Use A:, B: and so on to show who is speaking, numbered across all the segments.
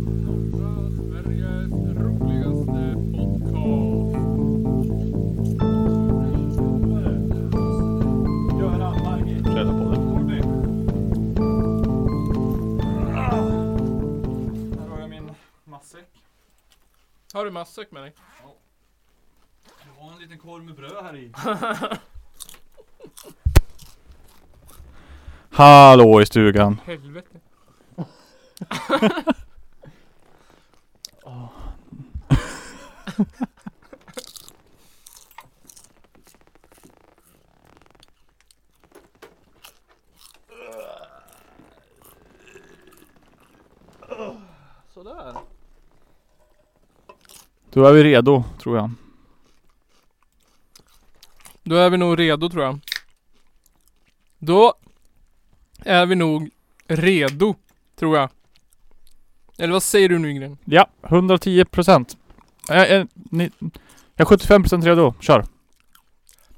A: Norra Sveriges roligaste podcast. Göran, Margit,
B: Rädda på det.
A: Torgny. Ah. Här har jag min matsäck.
C: Har du matsäck med dig?
A: Jag har en liten korv med bröd här i.
B: Hallå i stugan.
C: Helvete.
A: Sådär.
B: Då är vi redo, tror jag.
C: Då är vi nog redo tror jag. Då är vi nog redo, tror jag. Eller vad säger du Nygren?
B: Ja, 110 procent. Jag är, ni- jag är 75 procent redo. Kör.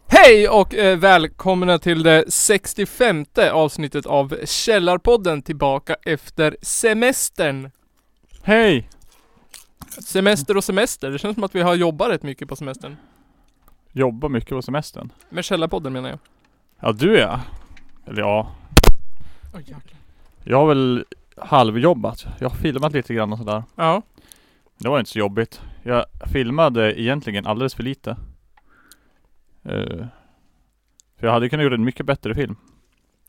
C: Hej och eh, välkomna till det 65 avsnittet av Källarpodden tillbaka efter semestern.
B: Hej!
C: Semester och semester, det känns som att vi har jobbat rätt mycket på semestern.
B: Jobbar mycket på semestern.
C: Med Källarpodden menar jag.
B: Ja, du ja. Eller ja.
C: Oh,
B: Jag har väl halvjobbat. Jag har filmat lite grann och sådär.
C: ja.
B: Det var inte så jobbigt. Jag filmade egentligen alldeles för lite. Eh, för jag hade kunnat göra en mycket bättre film.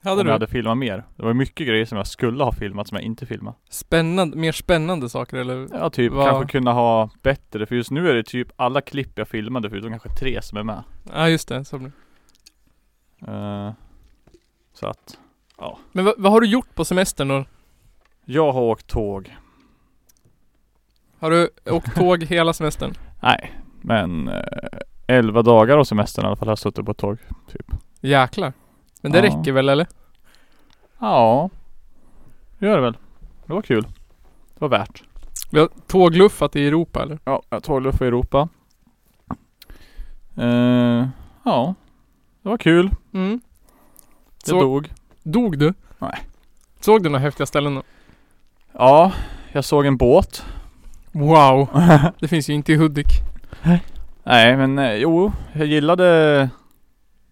C: Hade
B: om
C: du?
B: jag hade filmat mer. Det var mycket grejer som jag skulle ha filmat som jag inte filmade.
C: Spännande, mer spännande saker eller?
B: Ja typ,
C: Vad-
B: kanske kunna ha bättre. För just nu är det typ alla klipp jag filmade förutom kanske tre som är med.
C: Ja just det, så blir det.
B: Eh, så att,
C: Men vad, vad har du gjort på semestern då?
B: jag har åkt tåg.
C: Har du åkt tåg hela semestern?
B: Nej, men eh, 11 dagar av semestern i alla fall har jag suttit på ett tåg.
C: Jäklar. Men det
B: Ja.
C: räcker väl eller?
B: Ja, det gör det väl. Det var kul. Det var värt.
C: Vi har tågluffat i Europa eller?
B: Ja, jag tågluffade i Europa. Eh, ja, det var kul.
C: Mm.
B: Det
C: Så-
B: dog.
C: Dog du?
B: Nej.
C: Såg du några häftiga ställen då?
B: Ja, jag såg en båt.
C: Wow. Det finns ju inte i Hudik.
B: Nej men eh, jo, jag gillade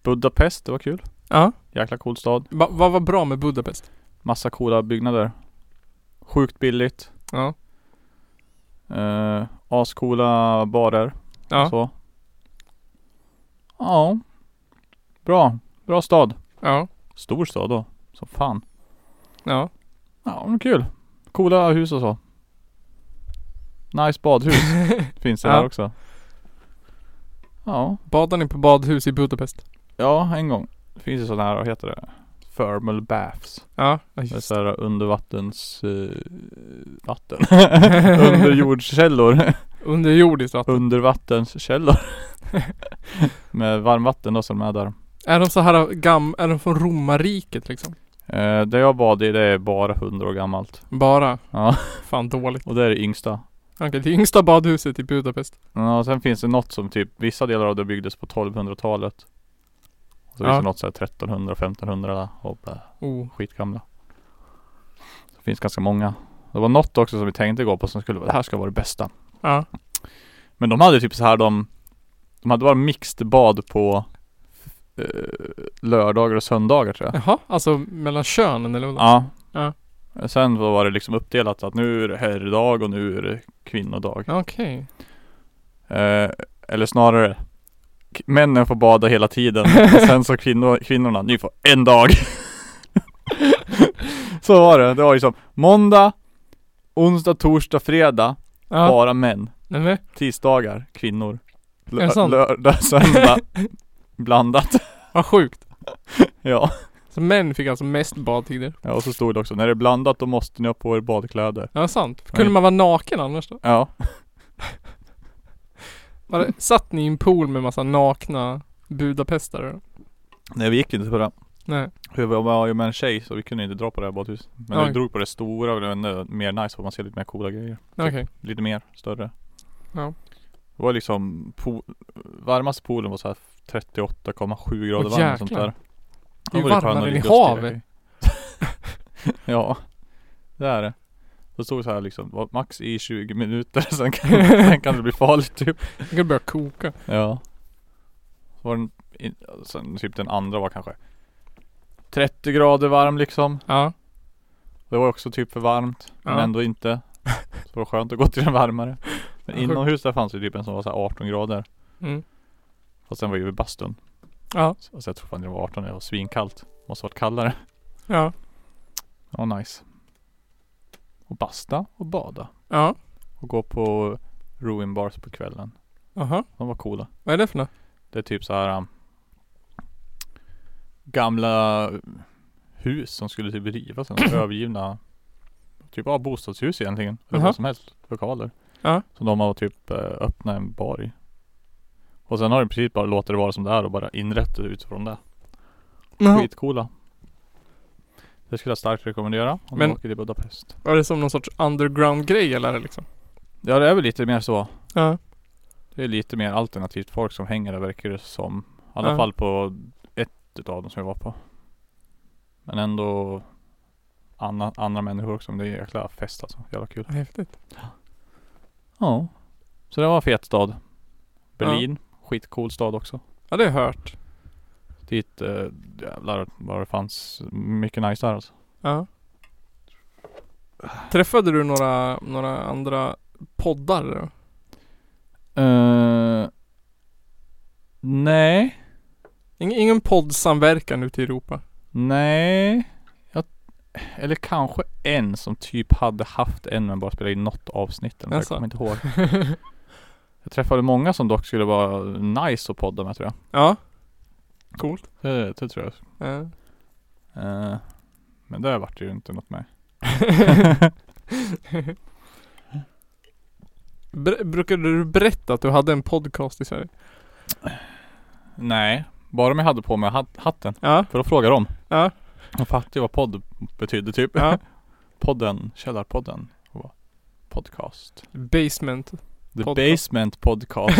B: Budapest, det var kul.
C: Ja.
B: Jäkla cool stad.
C: Va, vad var bra med Budapest?
B: Massa coola byggnader. Sjukt billigt.
C: Ja.
B: Eh, ascoola barer.
C: Ja.
B: Så. Ja. Bra. Bra stad.
C: Ja.
B: Stor stad då. Som fan.
C: Ja.
B: Ja men kul. Coola hus och så. Nice badhus finns det
C: Ja.
B: där också. Ja.
C: Badade ni på badhus i Budapest?
B: Ja, en gång. Det finns ju sådana här, vad heter det? Thermal baths.
C: Ja. ja,
B: Det är
C: Just.
B: så här undervattens... eh, vatten. Underjordskällor.
C: Underjordiskt vatten.
B: Undervattenskällor. Med varmvatten då som är där.
C: Är de så här gam... Är de från romarriket liksom?
B: Eh, det jag bad i det är bara 100 år gammalt.
C: Bara?
B: Ja,
C: Fan dåligt.
B: och det är det yngsta.
C: Okej, det yngsta badhuset i Budapest.
B: Ja, och sen finns det något som typ, vissa delar av det byggdes på 1200-talet. Och så
C: Ja.
B: finns det något så här 1300 1500 där. Och bara
C: Oh.
B: skitgamla. Det finns ganska många. Det var något också som vi tänkte gå på som skulle vara, det här ska vara det bästa.
C: Ja.
B: Men de hade typ så här de, de hade bara mixed bad på eh, lördagar och söndagar tror jag.
C: Jaha, alltså mellan könen eller? vadå?
B: Ja.
C: Ja.
B: Sen då var det liksom uppdelat att nu är det herrdag och nu är det kvinnodag.
C: Okej.
B: Eh, eller snarare k- Männen får bada hela tiden och sen så kvinnor, kvinnorna, ni får en dag Så var det, det var liksom måndag Onsdag, torsdag, fredag,
C: Ja.
B: bara män
C: Nej, men,
B: Tisdagar, kvinnor
C: Är det sant?
B: Lördag, söndag Blandat,
C: vad sjukt.
B: ja.
C: Så män fick alltså mest badtider.
B: ja Och så stod det också, när det är blandat då måste ni ha på er badkläder
C: Ja, sant. Kunde man vara naken annars då?
B: Ja,
C: Var det, satt ni i en pool med massa nakna budapestare då?
B: nej vi gick inte på det
C: Nej.
B: Vi var ju med en tjej så vi kunde inte dra på det här badhuset Men vi
C: Oj.
B: drog på det stora och det var ännu mer nice för man ser lite mer coola grejer
C: Okej.
B: lite mer större.
C: Ja.
B: Det var liksom po- varmaste poolen var så här 38,7 grader
C: Åh,
B: varm och sånt
C: jäklar.
B: där.
C: Det är ju
B: var skön att
C: varmare än i
B: ligga och
C: havet.
B: steka i. ja, det är det. Det stod så här liksom, var max i 20 minuter sen kan, sen kan det bli farligt typ.
C: Jag kan börja koka.
B: Ja. Så var den, in, sen typ den andra var kanske 30 grader varm liksom.
C: Ja.
B: Det var också typ för varmt. Men
C: Ja.
B: ändå inte. Så det var skönt att gå till den varmare. Men
C: Ja, sjukt.
B: inomhus där fanns det typ en som var så här 18 grader.
C: Mm.
B: Fast den var ju vid bastun.
C: Ja.
B: Så så jag tror fan det var 18, det var svinkallt. Måste varit kallare.
C: Ja.
B: Ja nice. Och basta och bada.
C: Ja.
B: Och gå på ruin bars på kvällen.
C: Aha.
B: De var coola.
C: Vad är det för något?
B: Det är typ så här um, Gamla hus som skulle typ rivas, eller övergivna Typ av bostadshus egentligen, eller
C: Jaha.
B: vad som helst, lokaler
C: Ja.
B: Som de har typ eh, öppnat en bar i Och sen har de precis bara låtit det vara som det är och bara inrett det utifrån det
C: Jaha.
B: Skitcoola Det skulle jag starkt rekommendera om
C: Men-
B: du åker till Budapest
C: Var det som någon sorts underground-grej eller är det liksom?
B: Ja det är väl lite mer så
C: Ja.
B: Det är lite mer alternativt folk som hänger där verkar det som. I alla
C: Ja.
B: fall på ett utav dem som jag var på. Men ändå andra, andra människor också. Men det är en jäkla fest alltså. Jävla kul.
C: Häftigt.
B: Ja. Så det var en fet stad. Berlin. Skitcool stad också.
C: Ja, det har jag hört.
B: Dit eh, jävlar vad det fanns mycket nice där alltså.
C: Ja. Träffade du några, några andra poddar? då?
B: Eh, nej.
C: Ingen, ingen poddsamverkan ute i Europa?
B: Nej. Jag, eller kanske en som typ hade haft en men bara spelade in något avsnitt. Eller något,
C: Jaså?
B: jag kommer inte ihåg. Jag träffade många som dock skulle vara nice att podda med tror jag.
C: ja. Coolt.
B: Det, det tror jag.
C: Ja.
B: Eh, men där vart det ju inte något med.
C: Ber- brukade du berätta att du hade en podcast i Sverige?
B: Nej, bara om jag hade på mig hat- hatten.
C: Ja.
B: För då frågar de.
C: Ja.
B: De fattade ju vad podd betydde typ.
C: ja.
B: Podden, Källarpodden. Och bara, Podcast.
C: Basement.
B: The
C: Podcast.
B: Basement Podcast.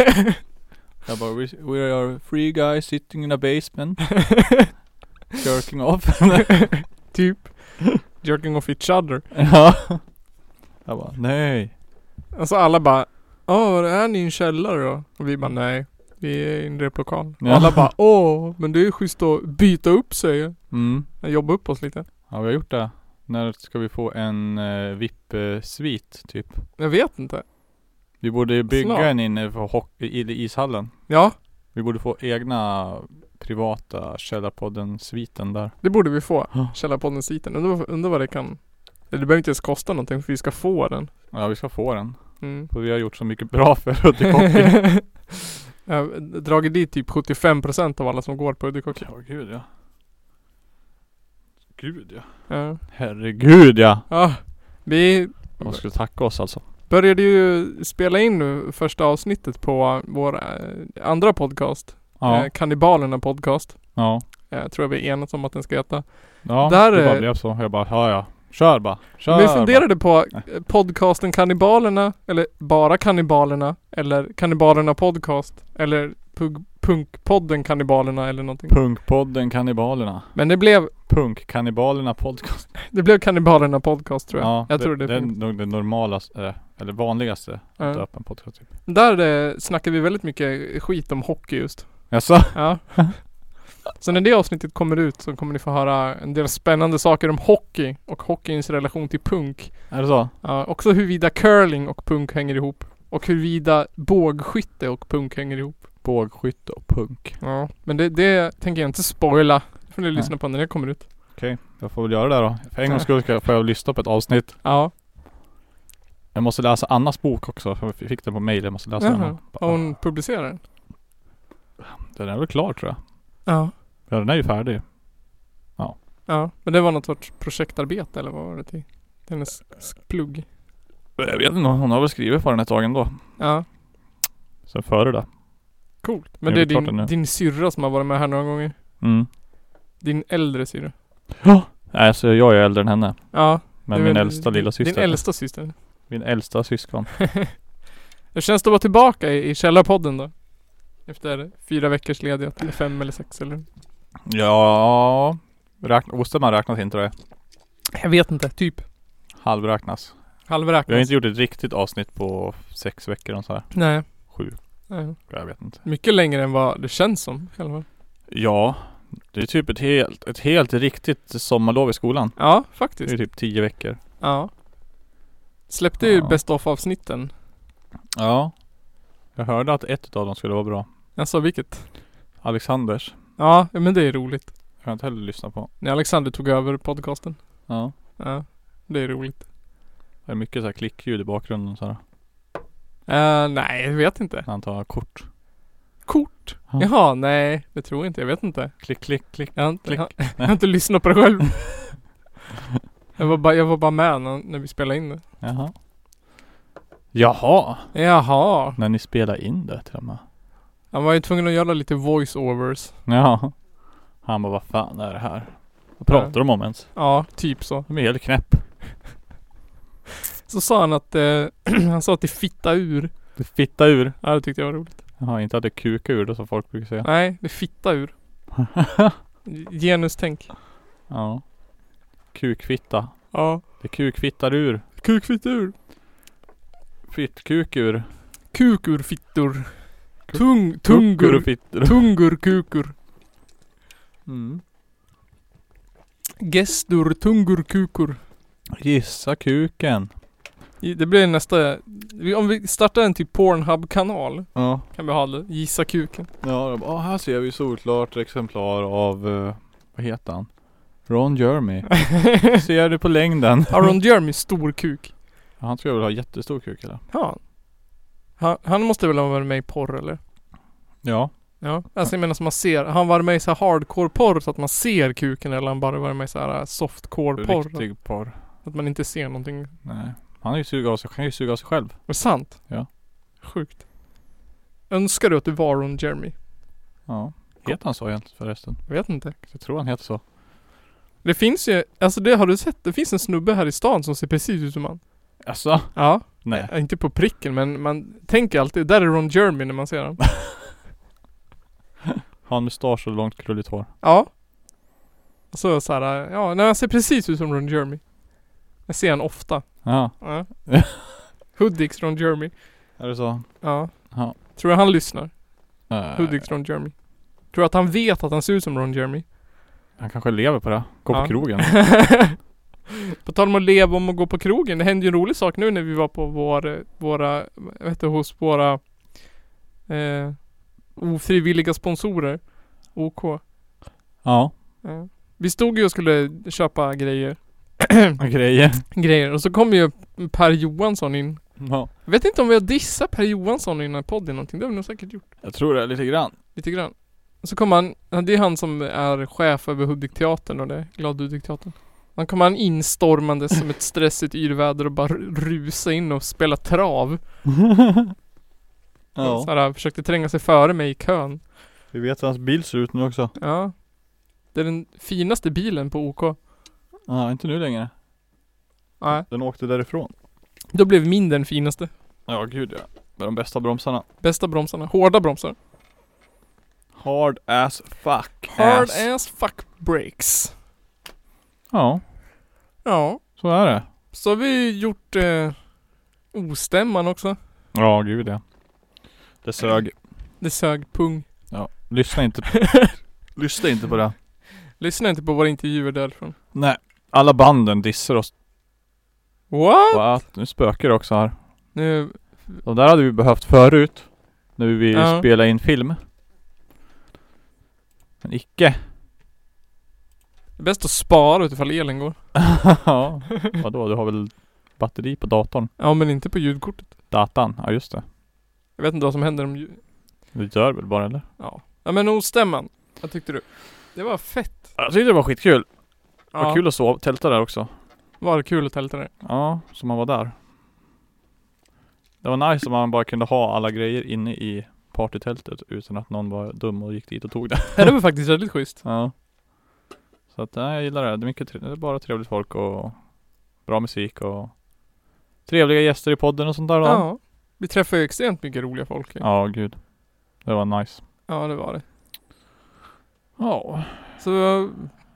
B: jag bara, we, we are three guys sitting in a basement. jerking off.
C: typ. Jerking off each other.
B: ja. Jag bara, nej.
C: Alltså alla bara Åh, är ni i en källare då? Och vi bara nej. Vi är i en replokal.
B: Ja.
C: Alla bara åh, men det är ju schysst att byta upp sig.
B: Mm.
C: Jobba upp oss lite.
B: Ja, vi har gjort det. När ska vi få en uh, VIP-svit typ?
C: Jag vet inte.
B: Vi borde ju bygga
C: Snart.
B: en inne för hockey, i ishallen.
C: Ja,
B: Vi borde få egna privata Källarpodden-sviten där.
C: det borde vi få.
B: Ja.
C: Källarpodden sviten. Undrar undra vad det kan... Eller Det behöver inte ens kosta någonting för vi ska få den.
B: Ja, vi ska få den.
C: Mm.
B: För vi har gjort så mycket bra för Uddekocki.
C: Jag har dragit dit typ 75% av alla som går på Uddekocki.
B: ja, gud ja. Gud ja.
C: Ja.
B: Herregud ja!
C: ja. Vi
B: De skulle tacka oss alltså.
C: började ju spela in nu första avsnittet på vår eh, andra podcast.
B: Ja.
C: Eh, Kannibalerna podcast.
B: ja.
C: Eh, tror jag vi är enats om att den ska heta.
B: Ja,
C: Där
B: det bara
C: är-
B: blev så. Jag bara, ja ja. Kör bara. Kör
C: Men vi funderade på
B: Nej.
C: eh, podcasten Kannibalerna, eller bara Kannibalerna, eller Kannibalerna podcast, eller pug- Punkpodden Kannibalerna eller någonting.
B: bara. Punkpodden Kannibalerna.
C: Men det blev,
B: Punkkannibalen podcast.
C: det blev Kannibalerna podcast tror jag.
B: Ja,
C: jag tror det.
B: det är nog det normalaste, eller- eller vanligaste,
C: Ja.
B: att döpa en podcast typ.
C: Där eh, snackar vi väldigt mycket skit om hockey just.
B: Jaså?
C: Ja. Så när det avsnittet kommer ut så kommer ni få höra en del spännande saker om hockey och hockeyns relation till punk.
B: Är det så?
C: Ja, också huruvida curling och punk hänger ihop. Och huruvida bågskytte och punk hänger ihop.
B: Bågskytte och punk.
C: Ja. Men det, det tänker jag inte spoila. Det får ni
B: Nej.
C: lyssna på när det kommer ut.
B: Jag får väl göra det då. För en gångs
C: Ja.
B: skull ska jag, får jag lyssna på ett avsnitt.
C: Ja.
B: Jag måste läsa Annas bok också. För jag fick den på mail. Jag måste läsa
C: Jaha.
B: den.
C: Har hon publicerat den?
B: Den är väl klar tror jag.
C: Ja.
B: Ja den är ju färdig.
C: Ja. Men det var något sorts projektarbete eller vad var det till? Hennes sk- plugg.
B: Jag vet inte. Hon har väl skrivit på den ett tag ändå.
C: Ja.
B: Sen före det.
C: Coolt. Men
B: Jag
C: det är
B: vill klart den
C: din,
B: nu.
C: din syrra som har varit med här några gånger.
B: Mm.
C: Din äldre syrra.
B: Ja. Nej, så jag är äldre än henne.
C: Ja.
B: Men
C: du är
B: min
C: en-
B: äldsta lilla syster.
C: Din äldsta syster.
B: Min äldsta syskon.
C: Hur känns det att vara tillbaka i, i Källarpodden då? Efter fyra veckors ledighet. Eller fem eller sex eller?
B: Ja. Räkna, Osterman räknas inte det.
C: Jag vet inte, typ.
B: Halvräknas. Vi har
C: Halvräknas.
B: inte gjort ett riktigt avsnitt på sex veckor och så här.
C: Nej.
B: Sju,
C: Nej.
B: jag vet inte.
C: Mycket längre än vad det känns som. i alla fall.
B: Ja, det är typ ett helt, ett helt riktigt sommarlov i skolan.
C: Ja,
B: Det
C: faktiskt.
B: är typ tio veckor.
C: Ja. Släppte ju
B: Ja.
C: Best of avsnitten.
B: Ja. Jag hörde att ett av dem skulle vara bra.
C: Jag sa vilket?
B: Alexanders.
C: Ja, men det är roligt.
B: Jag har inte heller lyssnat på.
C: När Alexander tog över podcasten.
B: Ja.
C: Ja, det är roligt.
B: Det är mycket så här klickljud i bakgrunden och så här.
C: Eh, nej, jag vet inte.
B: När han tar kort.
C: Kort?
B: Ja.
C: Jaha, nej. Det tror jag inte. Jag vet inte.
B: Klick, klick, klick.
C: Jag har inte,
B: Klick.
C: jag, jag har inte lyssnat på det själv. jag, var bara, jag var bara med när, när vi spelade in det.
B: Jaha. Jaha.
C: Jaha.
B: När ni spelar in det till och med.
C: Han var ju tvungen att göra lite voice-overs.
B: Ja. Han bara, vad fan är det här? Vad pratar de om ens?
C: Ja, typ så.
B: De är helt knäpp.
C: Så sa han att, eh, han sa att det fitta ur.
B: Det fitta ur.
C: Ja, det tyckte jag var roligt.
B: Jaha, inte att det kuka ur det som folk brukar säga.
C: Nej, det fitta ur. Genustänk.
B: Ja. Kukfitta.
C: Ja.
B: Det kukfittar ur.
C: Kukfitta ur.
B: Fittkuk ur.
C: Kukurfittor. Tung, tungur.
B: Kukurfittor.
C: Tungurkukur.
B: Mm.
C: Gestur, tungurkukur.
B: Gissa kuken.
C: I- Det blir nästa... vi- Om vi startar en typ Pornhub-kanal
B: Ja.
C: kan vi ha det. Gissa kuken.
B: Ja, de bara, "Ah, här ser vi solklart exemplar av, eh, vad heter han? Ron Jeremy. ser du på längden?
C: Aron Jeremy, stor kuk.
B: Han tror jag vill ha jättestor kuk eller?
C: Ja. Han, han måste väl ha varit med i porr eller?
B: Ja.
C: Ja. Alltså jag menar som man ser. Har han varit med i så här hardcore-porr så att man ser kuken eller har han bara varit med i så här softcore-porr?
B: Riktig porr.
C: Att man inte ser någonting.
B: Nej. Han är ju suga av sig, kan ju suga av sig själv.
C: Är det sant?
B: Ja.
C: Sjukt. Önskar du att du var Aron Jeremy?
B: Ja. Heter han så egentligen förresten?
C: Jag vet inte.
B: Jag tror han heter så.
C: Det finns ju, alltså det har du sett? Det finns en snubbe här i stan som ser precis ut som han.
B: Alltså?
C: Ja.
B: Nej.
C: Ja, Inte på pricken men man tänker alltid, där är Ron Jeremy när man ser honom.
B: Har han mustasch och långt krulligt hår?
C: Ja. Och så så här, ja, nej, han ser precis ut som Ron Jeremy. Jag ser han ofta.
B: Ja.
C: Ja. Hudiks Ron Jeremy.
B: Är det så?
C: Ja.
B: Ja.
C: Tror jag han lyssnar?
B: Nej.
C: Hudiks Ron Jeremy. Tror att han vet att han ser ut som Ron Jeremy?
B: Han kanske lever på det. Går
C: Ja.
B: på krogen.
C: På tal om att leva om och gå på krogen. Det hände ju en rolig sak nu när vi var på vår, våra, vad heter det, hos våra eh, ofrivilliga sponsorer. OK.
B: Ja.
C: Ja. Vi stod ju och skulle köpa grejer,
B: Och grejer.
C: grejer och så kom ju Per Johansson in.
B: Ja.
C: Jag vet inte om vi har dissat Per Johansson i den här podden någonting. Det har vi nog säkert gjort.
B: Jag tror det, lite grann.
C: Lite grann. Och så kom han, ja, det är han som är chef över Hudik-teatern och det, Glad Hudik-teatern. Han kom han instormande som ett stressigt yrväder och bara ru- rusa in och spela trav.
B: Ja.
C: Så här, försökte tränga sig före mig i kön.
B: Vi vet hur hans bil ser ut nu också.
C: Ja. Det är den finaste bilen på OK.
B: Ja, inte nu längre.
C: Nej.
B: Den åkte därifrån.
C: Då blev min den finaste.
B: Ja, gud ja. Med de bästa bromsarna.
C: Bästa bromsarna. Hårda bromsar.
B: Hard as fuck
C: Hard
B: ass.
C: ass fuck breaks.
B: Ja,
C: Ja.
B: så är det.
C: Så har vi gjort eh, ostämman också.
B: Ja, gud ja. Det sög.
C: Det sög pung.
B: Ja, lyssna inte. lyssna inte på det.
C: Lyssna inte på våra intervjuer därifrån.
B: Nej. Alla banden dissar oss.
C: What?
B: Va? Nu spökar det också här.
C: Nu,
B: De där hade vi behövt förut. När vi
C: Ja.
B: spelade in film. Men icke.
C: det är bäst att spara utifall elen går.
B: ja. Vadå, du har väl batteri på datorn?
C: Ja men inte på ljudkortet.
B: Datan, ja just det.
C: Jag vet inte vad som händer om ljud...
B: Du dör väl bara eller?
C: Ja. Ja men ostämman. Vad tyckte du? Det var fett.
B: Jag tyckte det var skitkul.
C: Ja.
B: Vad kul att sova, tälta där också.
C: Var kul att tälta där.
B: Ja, så man var där. Det var nice om man bara kunde ha alla grejer inne i partytältet utan att någon var dum och gick dit och tog det.
C: Ja, Det var faktiskt väldigt schysst.
B: Ja. Så att, nej, jag gillar det. Det är, mycket tre- det är bara trevligt folk och bra musik och trevliga gäster i podden och sånt där då. Ja,
C: Ja. Vi träffade ju extremt mycket roliga folk. Ja,
B: gud. Det var nice.
C: ja det var det.
B: Ja.
C: Så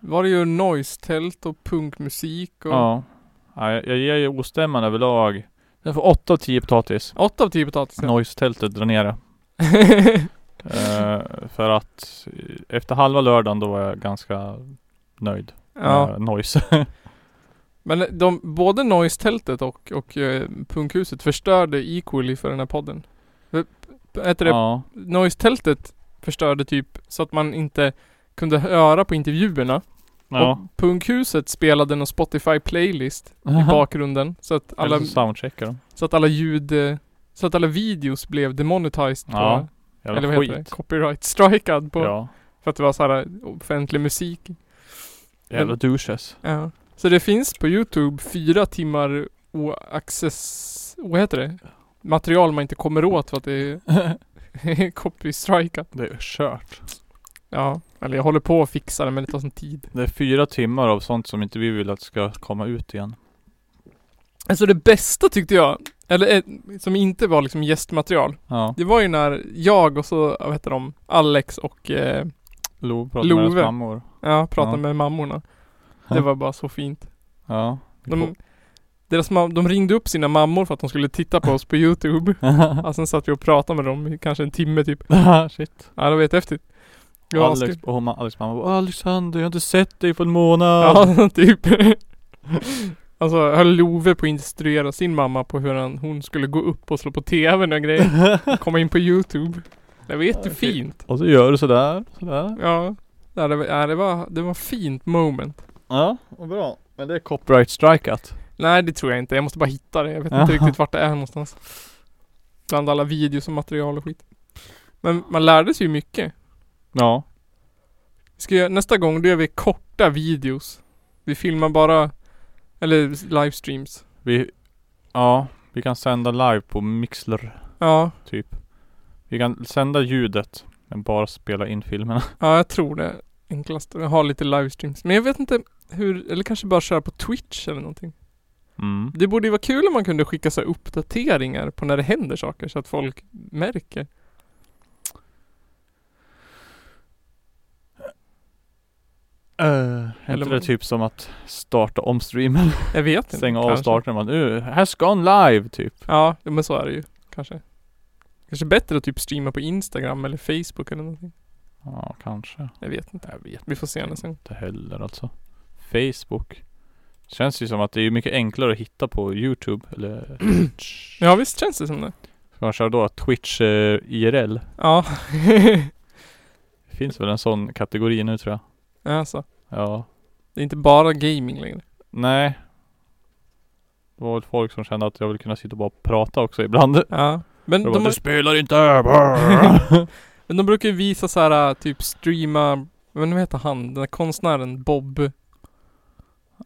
C: var det ju noise-tält och punkmusik och...
B: Ja. Ja, jag, jag ger ju ostämman överlag. Den får 8 av 10 potatis.
C: 8 av 10 potatis.
B: Noise-tältet drar ner det. Eh, för att eh, efter halva lördagen då var jag ganska nöjd
C: ja.
B: med noise.
C: Men de, både Noise-tältet och, och eh, punkhuset förstörde equally för den här podden. P- p- Heter det?
B: ja.
C: Noise-tältet förstörde typ så att man inte kunde höra på intervjuerna.
B: Ja.
C: Och punkhuset spelade någon Spotify playlist i bakgrunden. Så att alla,
B: Eller så soundcheckar de.
C: så att alla ljud, eh, så att alla videos blev demonetized på,
B: Ja. Jävla
C: eller vad heter det?
B: skit.
C: Copyright strikead på.
B: Ja.
C: För att det var så här eh, offentlig musik.
B: Jävla
C: Men-
B: douches.
C: Ja. Så det finns på Youtube fyra timmar oaccess... Vad heter det? Material man inte kommer åt för att det är copy-strikat.
B: Det är kört.
C: Ja. Eller jag håller på att fixa det men det tar sån tid.
B: Det är fyra timmar av sånt som inte vi vill att ska komma ut igen.
C: Alltså det bästa tyckte jag, eller eh, som inte var liksom gästmaterial.
B: Ja.
C: Det var ju när jag och så, vad heter de, Alex och eh,
B: Love pratar med
C: Love.
B: deras mammor.
C: ja, pratade
B: Ja.
C: med mammorna. Det var bara så fint.
B: Ja.
C: De, deras mam- de ringde upp sina mammor för att de skulle titta på oss på Youtube. Ja, sen satt vi och pratade med dem i kanske en timme typ.
B: Shit.
C: Ja, det var jättehäftigt. Ja,
B: Alex,
C: sku-
B: och hon, Alex mamma bara, Alexander jag har inte sett dig på en månad.
C: Ja, typ. Alltså höll Love på att instruera sin mamma på hur han, hon skulle gå upp och slå på TVn och grejer. Komma in på YouTube. Det var jättefint.
B: och så gör du sådär, sådär.
C: Ja. Ja, det var, ja, det var, det var fint moment.
B: Ja, och bra. Men det är copyright strikeout.
C: Nej, det tror jag inte. Jag måste bara hitta det. Jag vet inte
B: Jaha.
C: riktigt vart det är någonstans. Bland alla videos och material och skit. Men man lärde sig ju mycket.
B: Ja.
C: Ska jag, nästa gång då gör vi korta videos. Vi filmar bara, eller livestreams.
B: Vi, ja, vi kan sända live på Mixler,
C: Ja,
B: typ. Vi kan sända ljudet, men bara spela in filmerna.
C: ja jag tror det är enklast. Jag har lite livestreams. Men jag vet inte hur, eller kanske bara köra på Twitch eller någonting.
B: Mm.
C: Det borde ju vara kul om man kunde skicka så här uppdateringar på när det händer saker så att folk märker.
B: Uh,
C: Eller
B: Eller
C: vad-
B: det typ som att starta om streamen?
C: Jag vet inte.
B: Stänga av
C: kanske.
B: starten man, uh, has gone live typ.
C: Ja, ja, men så är det ju. Kanske. Kanske bättre att typ streama på Instagram eller Facebook eller någonting.
B: Ja, kanske.
C: Jag vet inte.
B: Jag vet
C: Vi får se nästa gång.
B: inte heller alltså. Facebook. Känns ju som att det är mycket enklare att hitta på Youtube eller Twitch.
C: Ja visst känns det som det.
B: Ska man köra då Twitch eh, IRL?
C: Ja.
B: Det finns väl en sån kategori nu tror jag.
C: alltså.
B: Ja.
C: Det är inte bara gaming längre.
B: Nej. Det var väl folk som kände att jag vill kunna sitta och bara prata också ibland. De
C: Ja. Men
B: bara,
C: Mm, de,
B: du spelar inte! Brr.
C: men de brukar ju visa så här äh, typ streama, men vad heter han, den där konstnären Bob? Ja,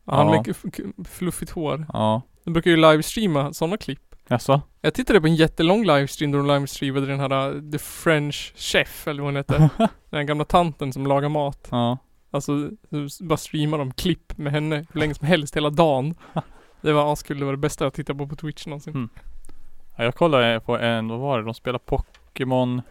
C: Han
B: Ja.
C: med f- k- fluffigt hår.
B: ja.
C: De brukar ju livestreama sådana klipp.
B: Jaså?
C: Jag tittade på en jättelång livestream där de livestreamade den här äh, The French Chef eller vad hon heter. den gamla tanten som lagar mat.
B: Ja.
C: Alltså s- bara streamar de klipp med henne hur länge som helst hela dagen. Det var askul, det var det bästa jag tittat på på Twitch någonsin.
B: Mm. Ja, Jag kollade på en, vad var det? De spelade Pokémon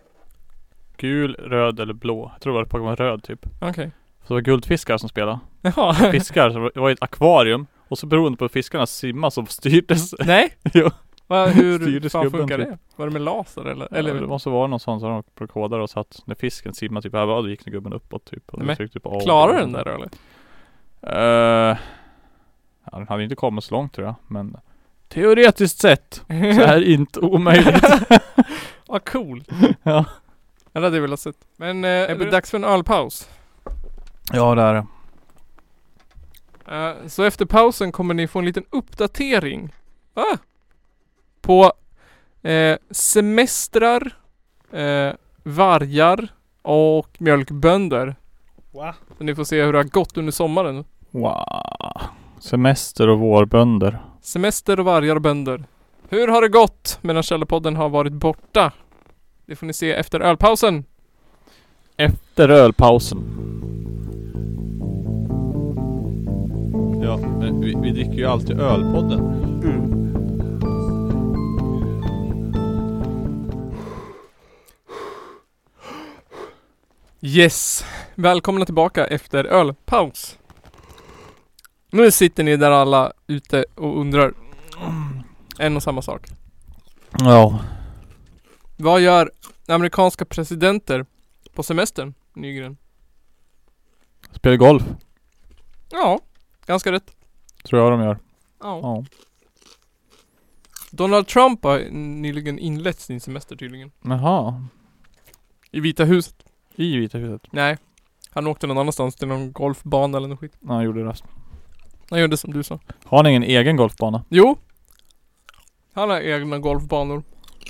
B: Gul, röd eller blå. Jag tror det var Pokémon röd typ.
C: Okej.
B: Så det var guldfiskar som spelade.
C: Jaha.
B: Fiskar, så det var ett akvarium. Och så beroende på hur fiskarna simmar så styrdes
C: Nej?
B: Jo.
C: Va, hur
B: Styrde
C: fan
B: skubben
C: funkar
B: typ.
C: det? Var det med laser eller?
B: Eller
C: eller
B: det måste vara någon sån som de kodade och satt när fisken simmade typ över, då gick den gubben uppåt typ. Och
C: Nej,
B: då tryckte på A.
C: klarar den där eller?
B: Uh, ja, den hade inte kommit så långt tror jag, men teoretiskt sett så är det inte omöjligt.
C: Vad cool.
B: Ja.
C: Ja, det hade jag velat sett. Men eh, är det dags för en ölpaus?
B: ja, det är det.
C: Eh, så efter pausen kommer ni få en liten uppdatering. Ah! På eh, semestrar, eh, vargar och mjölkbönder.
B: Va?
C: Så ni får se hur det har gått under sommaren.
B: Wow. Semester och vårbönder.
C: Semester och vargar och bönder. Hur har det gått medan Källarpodden har varit borta? Det får ni se efter ölpausen.
B: Efter ölpausen. Ja, men vi, vi dricker ju alltid ölpodden.
C: Yes! Välkomna tillbaka efter ölpaus. Nu sitter ni där alla ute och undrar. En och samma sak.
B: Ja.
C: Vad gör amerikanska presidenter på semestern, Nygren?
B: Spelar golf.
C: Ja, ganska rätt.
B: Tror jag de gör.
C: Ja.
B: Ja.
C: Donald Trump har nyligen inlett sin semester tydligen.
B: Jaha.
C: I Vita huset.
B: I Vita huset.
C: Nej. Han åkte någon annanstans till någon golfbana eller något skit.
B: Ja, han gjorde det.
C: Han gjorde som du sa.
B: Har han ingen egen golfbana?
C: Jo. Han har egna golfbanor.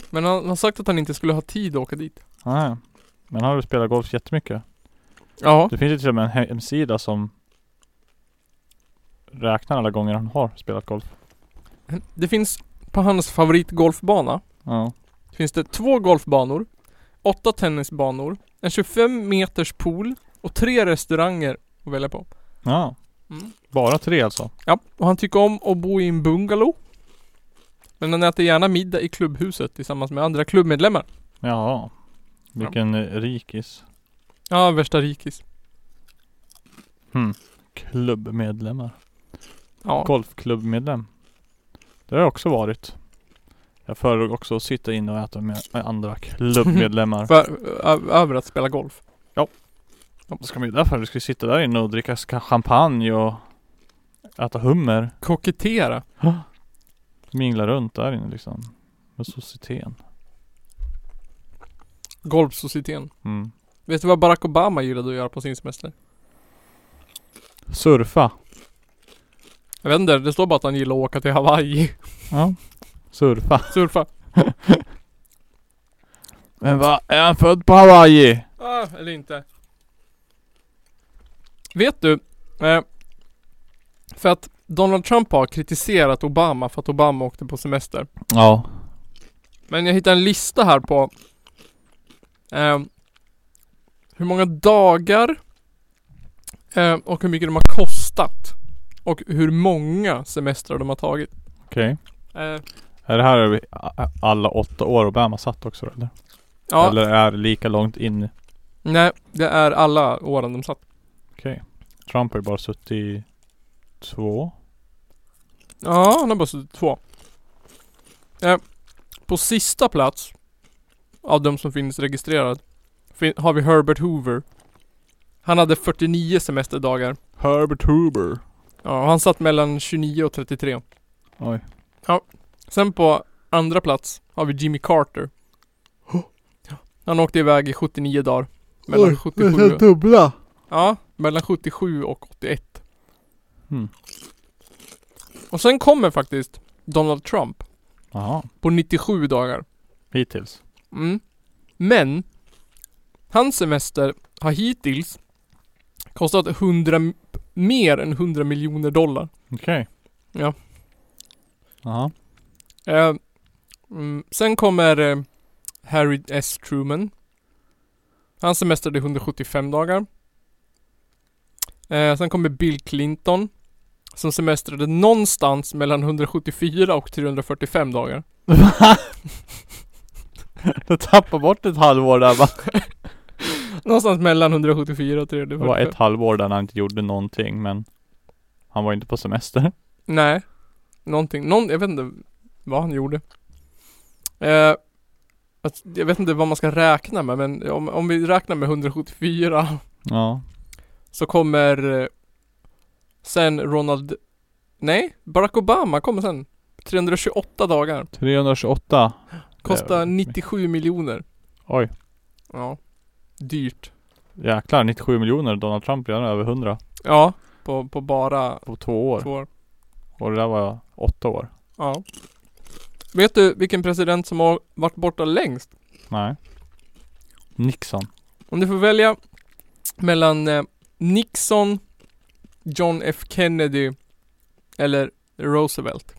C: Men han har sagt att han inte skulle ha tid att åka dit.
B: Nej. Men han har ju spelat golf jättemycket.
C: Ja.
B: Det finns ju till och med en hemsida som räknar alla gånger han har spelat golf.
C: Det finns på hans favoritgolfbana.
B: Ja.
C: Finns det två golfbanor. Åtta tennisbanor. En 25 meters pool. Och tre restauranger att välja på.
B: Ja.
C: Mm.
B: Bara tre alltså?
C: Ja. Och han tycker om att bo i en bungalow. Men han äter gärna middag i klubbhuset tillsammans med andra klubbmedlemmar.
B: Jaha. Vilken eh, rikis.
C: Ja, värsta rikis.
B: Klubbmedlemmar.
C: Ja.
B: Golfklubbmedlem. Det har jag också varit. Jag föredrog också att sitta inne och äta med med andra klubbmedlemmar.
C: För, ö- över att spela golf.
B: Det ska man ju därför. Du ska ju sitta där inne och dricka ska- champagne och äta hummer.
C: Kokettera.
B: Mingla runt där inne liksom. Med societeten.
C: Golfsocieteten.
B: Mm.
C: Vet du vad Barack Obama gillade att göra på sin semester?
B: Surfa.
C: Jag vet inte, det står bara att han gillar att åka till Hawaii.
B: Ja. Surfa.
C: Surfa.
B: Men vad Är han född på Hawaii?
C: Ah, eller inte. Vet du? Eh, för att Donald Trump har kritiserat Obama för att Obama åkte på semester.
B: Ja.
C: Men jag hittade en lista här på eh, hur många dagar eh, och hur mycket de har kostat. Och hur många semestrar de har tagit.
B: Okej.
C: Eh,
B: Är det här över a- alla åtta år Obama satt också eller?
C: ja,
B: Eller är det lika långt in?
C: nej, det är alla åren de satt.
B: Okej. Trump har ju bara suttit i två.
C: Ja, han har bara suttit två. Eh, på sista plats av de som finns registrerad fin- har vi Herbert Hoover. Han hade 49 semesterdagar.
B: Herbert Hoover.
C: Ja, och han satt mellan 29 och 33.
B: Oj.
C: Sen på andra plats har vi Jimmy Carter. Han åkte iväg i 79 dagar. Mellan 77 och,
B: dubbla.
C: Ja, mellan 77 och 81.
B: Mm.
C: Och sen kommer faktiskt Donald Trump
B: Jaha.
C: på 97 dagar.
B: Hittills.
C: Mm. Men hans semester har hittills kostat 100 m- mer än 100 miljoner dollar.
B: Okej.
C: Ja.
B: Jaha.
C: Eh, mm, sen kommer eh, Harry S. Truman. Hans semester är 175 dagar. Eh, sen kommer Bill Clinton. Som semestrade någonstans mellan 174 och 345 dagar.
B: Du tappade bort ett halvår där va?
C: Någonstans mellan 174 och
B: Det
C: 345.
B: var ett halvår där han inte gjorde någonting men han var inte på semester.
C: Nej. Någonting. Någon, jag vet inte vad han gjorde. Eh, att- jag vet inte vad man ska räkna med men om, om vi räknar med 174
B: Ja.
C: så kommer eh, sen Ronald... Nej, Barack Obama kommer sen. 328 dagar.
B: 328.
C: Kostar
B: Jävlar.
C: 97 miljoner.
B: Oj.
C: Ja. Dyrt.
B: Jäklar, 97 miljoner. Donald Trump redan över 100
C: Ja. På, på bara
B: på två år.
C: två år.
B: Och det där var åtta år.
C: Ja. Vet du vilken president som har varit borta längst?
B: Nej. Nixon.
C: Om du får välja mellan eh, Nixon, John F Kennedy eller Roosevelt.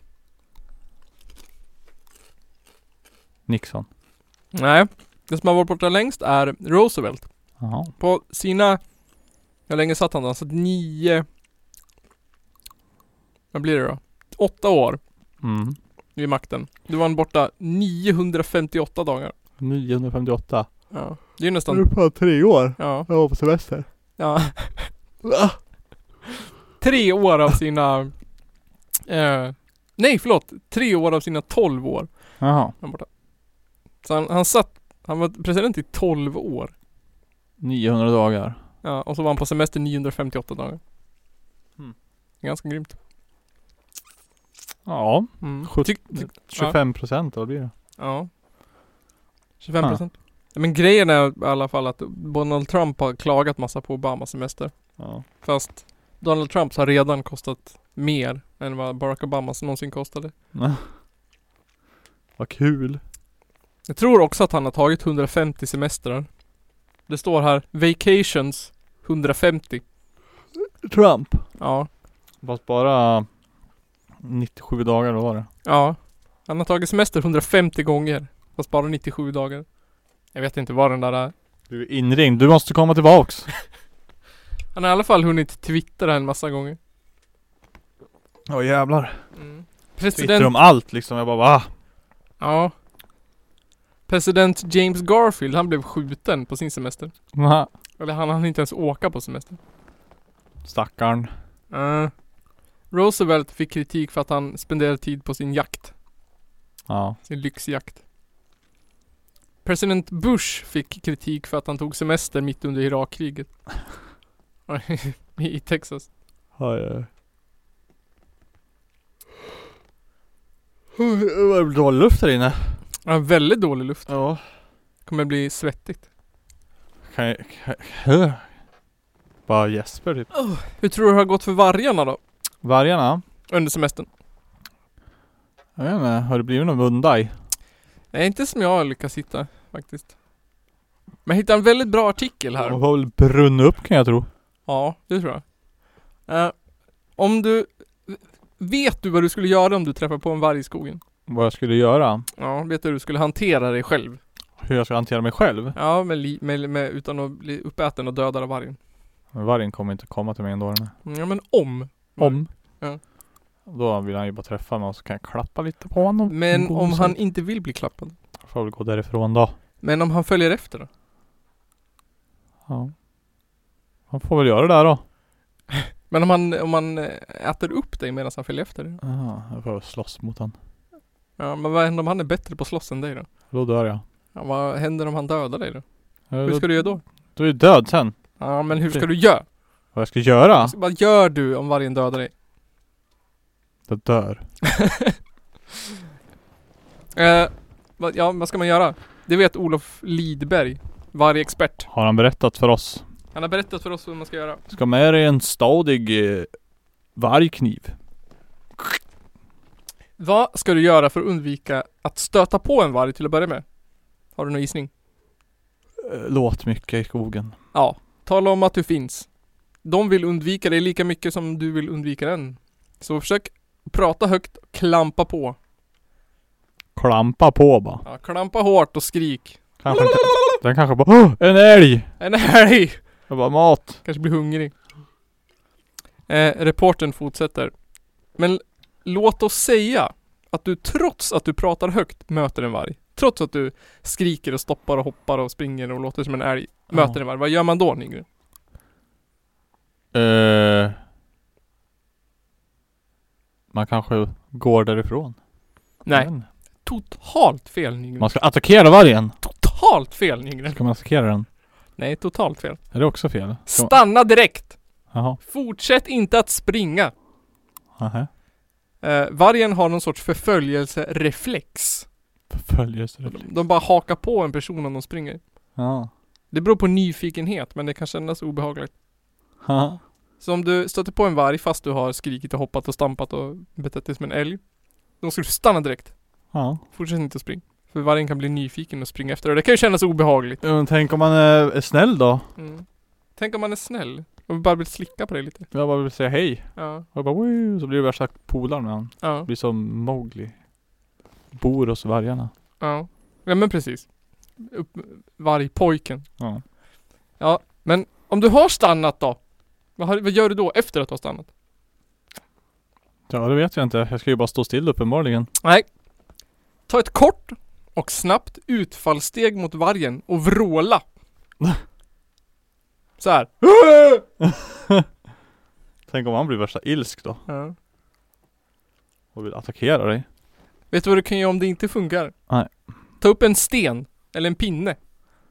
B: Nixon.
C: Nej, det som har varit borta längst är Roosevelt.
B: Jaha.
C: På sina, hur länge satt han då? Han satt nio, vad blir det då? Åtta år
B: Mm.
C: vid makten. Då var han borta 958 dagar.
B: 958.
C: Ja, det är ju nästan,
B: på tre år.
C: ja,
B: Jag var på semester.
C: ja. tre år av sina... Eh, nej förlåt, tre år av sina tolv år.
B: Jaha.
C: där Borta. Så han, han satt, han var president i tolv år.
B: 900 dagar.
C: Ja, och så var han på semester 958 dagar.
B: Mm.
C: Ganska grymt.
B: Ja.
C: Mm.
B: Sjut-
C: Tyck, tyck,
B: 25 procent, vad blir det?
C: ja. 25 procent. Men grejen är i alla fall att Donald Trump har klagat massa på Obamas semester.
B: Ja.
C: Fast Donald Trumps har redan kostat mer än vad Barack Obamas någonsin kostade.
B: vad kul.
C: Jag tror också att han har tagit 150 semestrar. Det står här Vacations 150.
B: Trump.
C: Ja.
B: Fast bara 97 dagar, vad var det?
C: Ja. Han har tagit semester 150 gånger. Fast bara 97 dagar. Jag vet inte vad den där är.
B: Du är inringd, du måste komma tillbaks.
C: Han har i alla fall hunnit twittra en massa gånger.
B: Ja jävlar. Twittrar
C: President...
B: om allt liksom, jag bara va?
C: Ja. President James Garfield, han blev skjuten på sin semester.
B: Nä.
C: Eller han hann inte ens åka på semester.
B: Stackarn.
C: Eh, Roosevelt fick kritik för att han spenderade tid på sin jakt.
B: Ja.
C: Sin lyxjakt. President Bush fick kritik för att han tog semester mitt under Irakkriget. I i Texas.
B: Oj, oj. Det blir dålig luft här inne.
C: Ja, väldigt dålig luft.
B: Ja.
C: Kommer bli svettigt.
B: Kan jag, kan jag, bara gäspar typ.
C: Hur tror du det har gått för vargarna då?
B: Vargarna?
C: Under semestern?
B: Jag vet inte, har det blivit någon Mundai?
C: Nej, inte som jag lyckas hitta faktiskt. Men jag hittade en väldigt bra artikel här.
B: De har väl brunnit upp kan jag tro.
C: Ja, det tror jag. Eh, om du... Vet du vad du skulle göra om du träffar på en varg i skogen?
B: Vad jag skulle göra?
C: Ja, vet du hur du skulle hantera dig själv?
B: Hur jag ska hantera mig själv?
C: Ja, med, li- med, med, utan att bli uppäten och dödad av vargen.
B: Men vargen kommer inte komma till mig ändå den här.
C: Ja, men om.
B: Om.
C: Ja.
B: Då vill han ju bara träffa mig och så kan jag klappa lite på honom.
C: Men om
B: Gosigt.
C: han inte vill bli klappad?
B: Får väl gå därifrån då.
C: Men om han följer efter då?
B: Ja. Han får väl göra det där då.
C: Men om han, om han eh, äter upp dig medan han följer efter dig?
B: Ja, jag får väl slåss mot han.
C: Ja, men vad händer om han är bättre på att slåss än dig då?
B: Då dör jag.
C: Ja, vad händer om han dödar dig då?
B: Ja,
C: Hur
B: då-
C: ska du göra då?
B: Du är ju död sen.
C: Ja, men hur ska du göra? Alltså,
B: Vad jag ska göra?
C: Vad gör du om vargen dödar dig?
B: Jag dör.
C: Eh, vad, ja, vad ska man göra? Det vet Olof Lidberg, vargexpert.
B: Har han berättat för oss?
C: Han har berättat för oss vad man ska göra.
B: Ska med dig en stadig eh, vargkniv.
C: Vad ska du göra för att undvika att stöta på en varg till att börja med? Har du någon gissning?
B: Eh, Låt mycket i skogen.
C: Ja, tala om att du finns. De vill undvika dig lika mycket som du vill undvika den. Så försök prata högt, klampa på.
B: Klampa på bara.
C: Ja, klampa hårt och skrik.
B: Kanske inte. Den kanske bara Åh! En älg!
C: En älg!
B: Jag bara mat.
C: Kanske blir hungrig. Eh, reporten fortsätter. Men låt oss säga att du trots att du pratar högt möter en varg. Trots att du skriker och stoppar och hoppar och springer och låter som en älg. Möter en varg. Vad gör man då Nygren?
B: Eh, man kanske går därifrån.
C: Nej.
B: Men,
C: Totalt fel Nygren.
B: Man ska attackera vargen.
C: Totalt fel Nygren.
B: Ska man attackera den?
C: Nej, totalt fel.
B: Är det också fel? Ska man-
C: Stanna direkt!
B: Jaha.
C: Fortsätt inte att springa.
B: Nähä.
C: Eh, vargen har någon sorts förföljelsereflex.
B: Förföljelsereflex.
C: De bara hakar på en person om de springer.
B: Ja.
C: Det beror på nyfikenhet, men det kan kännas obehagligt.
B: Haha.
C: Så om du stöter på en varg fast du har skrikit och hoppat och stampat och betett dig som en älg. Då ska du stanna direkt.
B: Ja.
C: Fortsätt inte att springa. För vargen kan bli nyfiken och springa efter dig. Det kan ju kännas obehagligt.
B: Men tänk om man är, är snäll då?
C: Tänk om man är snäll och bara vill slicka på dig lite.
B: Jag bara vill säga hej.
C: Ja.
B: Och jag bara Woo! Så blir det värsta polaren med han.
C: Ja.
B: Blir som Mowgli. Bor hos vargarna.
C: Ja. Ja men precis. Upp, vargpojken.
B: Ja.
C: Ja. Men om du har stannat då? Vad, har, vad gör du då efter att du har stannat?
B: Ja det vet jag inte. Jag ska ju bara stå still uppenbarligen.
C: Nej. Ta ett kort och snabbt utfallssteg mot vargen och vråla. Så här.
B: Tänk om han blir värsta ilsk då
C: Ja.
B: och vill attackera dig.
C: Vet du vad du kan göra om det inte funkar?
B: Nej.
C: Ta upp en sten, eller en pinne,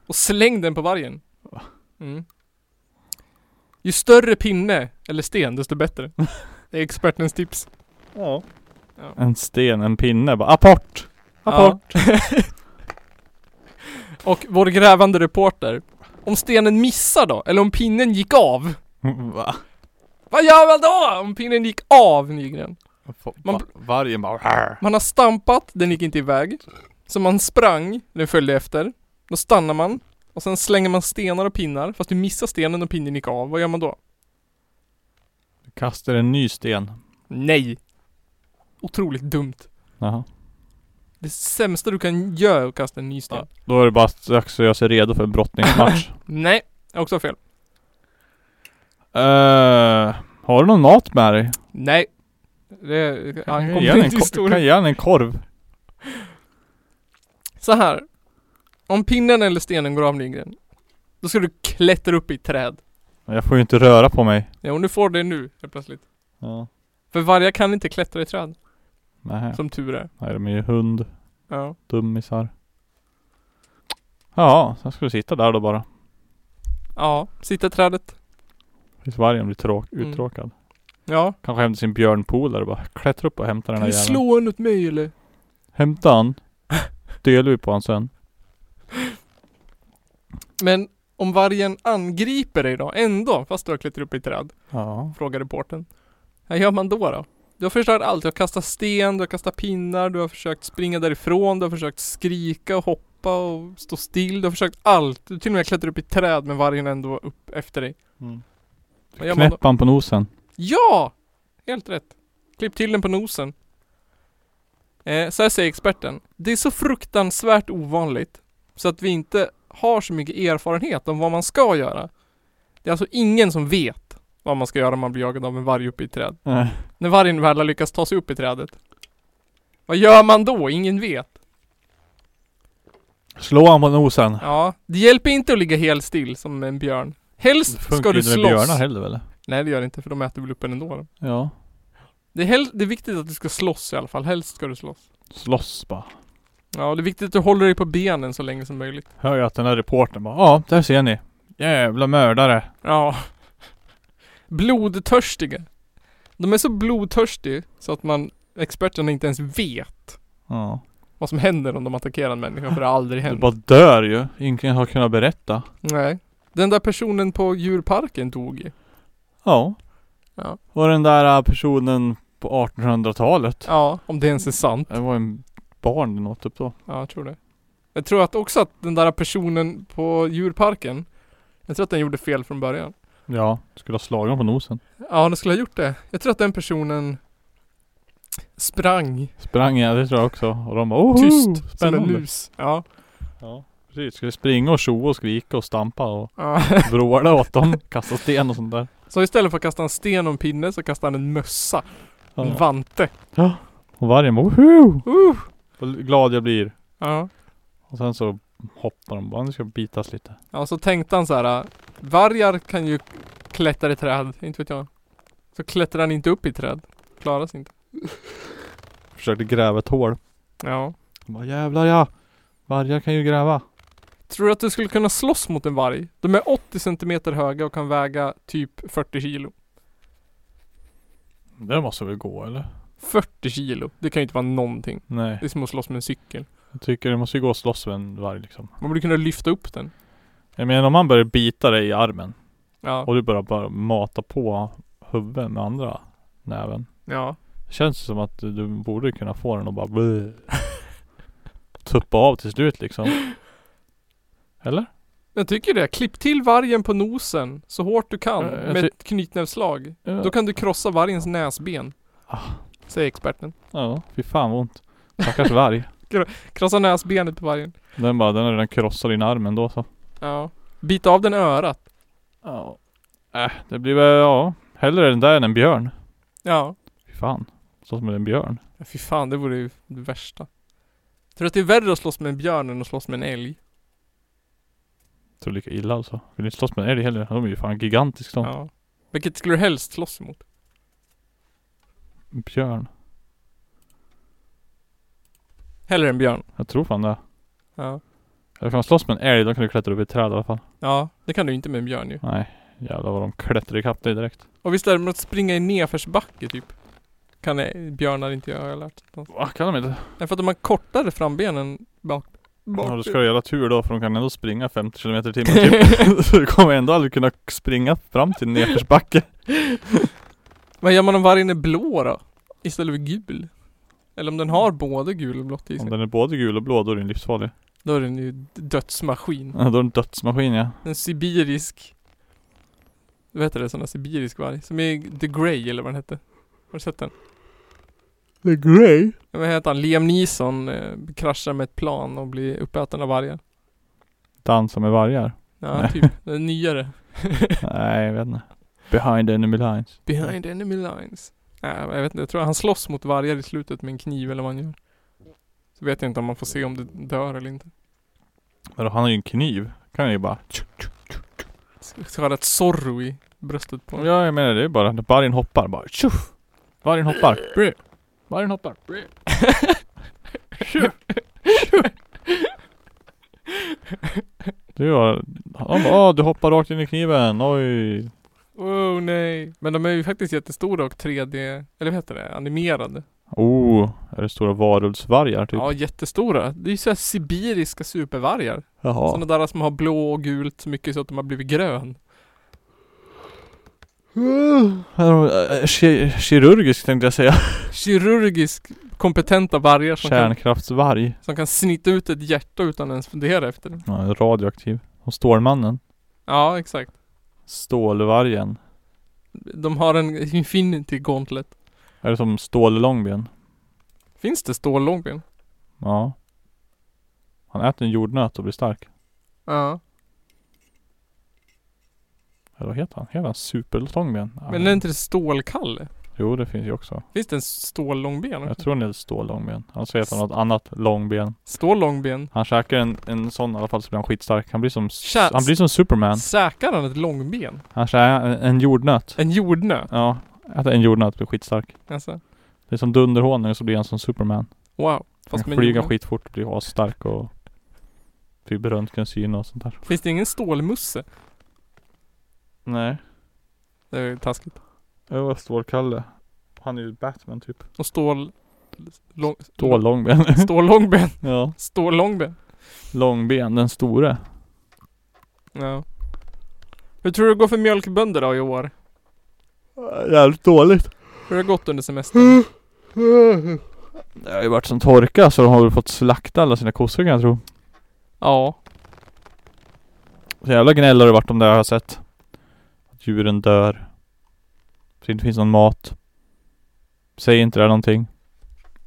C: och släng den på vargen.
B: Va?
C: Mm. Ju större pinne, eller sten, desto bättre. Det är expertens tips.
B: Ja.
C: Ja.
B: En sten, en pinne bara apport! Apport!
C: Och vår grävande reporter. Om stenen missar då, eller om pinnen gick av.
B: Mm, Va?
C: Vad gör man då? Om pinnen gick av, Nygren. Man-
B: Man... Vargen bara "Arr."
C: Man har stampat, den gick inte iväg. Så man sprang, den följde efter. Då stannar man. Och sen slänger man stenar och pinnar, fast du missar stenen och pinnen gick av. Vad gör man då?
B: Kastar en ny sten.
C: Nej! Otroligt dumt.
B: Jaha.
C: Det sämsta du kan göra är att kasta en ny sten.
B: Ja. Då är det bara strax att göra sig redo för en brottningsmatch.
C: Nej, jag har också fel.
B: Eh, har du någon mat med dig?
C: Nej. Det
B: Kan jag
C: ankommer
B: ge han en
C: inte
B: kor- kan jag
C: historien.
B: ge han en korv?
C: Så här. Om pinnen eller stenen går av Nygren. Då ska du klättra upp i ett träd.
B: Jag får ju inte röra på mig.
C: Ja, och du får det nu helt plötsligt.
B: Ja.
C: För vargar kan inte klättra i träd.
B: Nej.
C: Som tur är.
B: Nej, de är ju hund.
C: Ja.
B: Dummisar. Ja, sen ska du sitta där då bara.
C: Ja, sitta i trädet.
B: Tills vargen blir tråk-
C: Mm.
B: uttråkad.
C: Ja.
B: Kanske hämta sin björnpolare och bara klättra upp och hämta den
C: Kan
B: här
C: du
B: jäveln.
C: slå en åt mig eller?
B: Hämta han. Delar vi på han sen.
C: Men om vargen angriper dig då, ändå, fast du har klättrat upp i ett träd.
B: Ja.
C: Frågar reportern. Vad gör man då då? Du har förstört allt. Du har kastat sten, du har kastat pinnar, du har försökt springa därifrån, du har försökt skrika och hoppa och stå still. Du har försökt allt. Du till och med klättrar upp i ett träd men vargen ändå upp efter dig.
B: Mm.
C: Vad gör man då?
B: Knäpp han på nosen.
C: Ja! Helt rätt. Klipp till den på nosen. Eh, så här säger experten. Det är så fruktansvärt ovanligt så att vi inte har så mycket erfarenhet om vad man ska göra. Det är alltså ingen som vet vad man ska göra om man blir jagad av en varg uppe i ett träd.
B: Eh,
C: När vargen väl har lyckats ta sig upp i trädet. Vad gör man då? Ingen vet.
B: Slå han på nosen.
C: Ja, det hjälper inte att ligga helt still som en björn. Helst ska du
B: inte med
C: slåss.
B: björnar heller väl?
C: Nej det gör det inte för de äter väl upp en ändå.
B: Ja.
C: Det är, hel- det är viktigt att du ska slåss i alla fall. Helst ska du slåss.
B: Slåss bara.
C: Ja, och det är viktigt att du håller dig på benen så länge som möjligt.
B: Hör jag att den där reportern bara Ja, där ser ni. Jävla mördare.
C: Ja. Blodtörstiga. De är så blodtörstiga så att man, experterna inte ens vet
B: Ja.
C: vad som händer om de attackerar en människa för det har aldrig
B: Du
C: hänt.
B: bara dör ju. Ingen har kunnat berätta.
C: Nej. Den där personen på djurparken dog ju.
B: Ja.
C: Ja.
B: Och den där äh, personen på 1800-talet.
C: Ja, om det ens är sant.
B: Det var en barn den åt upp då.
C: Ja, jag tror det. Jag tror att också att den där personen på djurparken, jag tror att den gjorde fel från början.
B: Ja. Skulle ha slagit honom på nosen.
C: Ja, den skulle ha gjort det. Jag tror att den personen sprang
B: Sprang jag, det tror jag också. Och de bara oh,
C: tyst som en
B: Spännande.
C: mus. Ja.
B: Ja. Precis. Skulle springa och tjoa och skrika och stampa och
C: ja.
B: vråla åt dem. Kasta sten och sånt där.
C: Så istället för att kasta en sten och en pinne så kastade han en mössa. En
B: Ja.
C: vante.
B: Och vargen bara woho!
C: Uh.
B: Vad glad jag blir.
C: Ja.
B: Och sen så hoppar de bara. Nu ska jag bitas lite.
C: ja, så tänkte han så här. äh, Vargar kan ju klättra i träd, inte vet jag. Så klättrar han inte upp i träd. Klaras inte.
B: Försökte gräva ett hål.
C: Ja.
B: Vad jävlar ja! Vargar kan ju gräva.
C: Tror du att du skulle kunna slåss mot en varg? De är 80 centimeter höga och kan väga typ 40 kilo.
B: Det måste väl gå eller?
C: 40 kilo, det kan ju inte vara någonting.
B: Nej.
C: Det är som att slåss med en cykel.
B: Jag tycker det måste ju gå och slåss med en varg liksom.
C: Man borde kunna lyfta upp den.
B: Jag menar om man börjar bita dig i armen
C: Ja.
B: och du börjar bara mata på huvudet med andra näven.
C: Ja.
B: Det känns som att du- du borde kunna få den att bara bleh, Tuppa av till slut liksom. Eller?
C: Jag tycker det. Klipp till vargen på nosen så hårt du kan
B: Jag- jag
C: med
B: ty-
C: ett knytnävsslag.
B: Ja.
C: Då kan du krossa vargens näsben.
B: Ah.
C: Säger experten.
B: Ja, fy fan vad ont. Stackars varg.
C: Krossa näsbenet på vargen.
B: Den bara, den har redan krossat din arm ändå så.
C: Ja. Bita av den örat.
B: Ja. Äh, det blir väl, ja. Hellre den där än en björn.
C: Ja.
B: Fy fan. Så som en björn.
C: Ja, Fy fan, det vore ju det värsta. Tror du att det är värre att slåss med en björn än att slåss med en älg?
B: Så lika illa alltså. Vill inte slåss med en älg heller. De är ju fan gigantiska de.
C: Ja. Vilket skulle du helst slåss emot?
B: Björn.
C: Hellre en björn.
B: Jag tror fan det.
C: Ja.
B: Jag kan slåss med en älg, då kan du klättra upp i ett träd i alla fall.
C: Ja, det kan du inte med en björn ju.
B: Nej. Jävlar vad de klättrar ikapp dig direkt.
C: Och visst är det med att springa i nedförsbacke typ? Kan eh, björnar inte göra, har jag lärt mig.
B: Va, kan de inte?
C: Nej, för att de har kortare framben än bak.
B: Ja, då ska du jävla tur då, för de kan ändå springa 50 km i timmen typ. Så du kommer ändå aldrig kunna springa fram till nedförsbacke.
C: Vad gör man om vargen är blå då? Istället för gul? Eller om den har både gul och blått i
B: Om
C: sig?
B: den är både gul och blå, då är den livsfarlig.
C: Då är den ju d- dödsmaskin.
B: Ja, då är det en dödsmaskin ja.
C: En sibirisk... Vad heter det? Sån där sibirisk varg? Som är The Grey eller vad den hette. Har du sett den?
B: The Grey?
C: Ja, Vad heter han? Liam Neeson eh, kraschar med ett plan och blir uppäten av vargar.
B: Dansa med vargar?
C: Ja, typ. Den är nyare.
B: Nej, jag vet inte. Behind enemy lines.
C: Behind enemy lines. Nej, jag vet inte. Jag tror han slåss mot vargar i slutet med en kniv eller vad han gör. Så vet jag inte om man får se om det dör eller inte.
B: Men då, han har ju en kniv. Kan han ju bara... tju, tju.
C: Så har det ett Zorro i bröstet på honom.
B: Ja, jag menar det är bara när vargen hoppar bara tjoff! Vargen hoppar. Brr. Vargen hoppar. Brr. Tjoff. Tjoff. Du har... Han bara, "Ah, du hoppar rakt in i kniven. Oj.
C: Oh nej. Men de är ju faktiskt jättestora och 3D, eller vad heter det, animerade.
B: Oh, är det stora varulvsvargar typ?
C: Ja, jättestora. Det är ju såhär sibiriska supervargar.
B: Jaha.
C: Sådana där som har blå och gult så mycket så att de har blivit grön. Mm.
B: Här har vi, eh, ki- Kirurgisk tänkte jag säga.
C: Kirurgiskt kompetenta vargar som kan,
B: Kärnkraftsvarg.
C: som kan snita ut ett hjärta utan ens fundera efter det.
B: Ja, radioaktiv. Och Stålmannen.
C: Ja, exakt.
B: Stålvargen.
C: De har en infinity gauntlet.
B: Är det som Stållångben?
C: Finns det stållångben?
B: Ja. Han äter en jordnöt och blir stark.
C: Ja.
B: Eller vad heter han? Heter han Superlångben? Ja,
C: Men är inte det stålkalle?
B: Jo, det finns ju också.
C: Finns det en stållångben
B: Jag
C: också?
B: tror han heter Stållångben. Alltså heter han något annat långben.
C: Stållångben?
B: Han käkar en, en sån i alla fall så blir han skitstark. Han blir som, s-
C: Tja-
B: han blir som Superman.
C: Säkrar han ett långben?
B: Han käkar en, en jordnöt.
C: En jordnöt?
B: Ja. Äter en jordnöt blir skitstark.
C: Alltså.
B: Det är som dunderhonung så blir han som Superman.
C: Wow.
B: Han
C: Fast med
B: kan flyga
C: jordnöt.
B: skitfort, blir asstark och typ röntgensyne och sånt där.
C: Finns det ingen stålmusse?
B: Nej.
C: Det är ju taskigt.
B: Det var Stålkalle. Han är ju Batman typ.
C: Och stål... Lång...
B: Stållångben.
C: Stållångben.
B: ja.
C: Stållångben.
B: Långben, den store.
C: Ja. Hur tror du det går för mjölkbönder då i år?
B: Jävligt dåligt. Mm.
C: Hur har det gått under semestern?
B: Det har ju varit som torka så de har väl fått slakta alla sina kossor kan jag tro.
C: Ja.
B: Så jävla gnäll har det varit om det jag har sett. Att djuren dör. Att det inte finns någon mat. Säg inte det här någonting.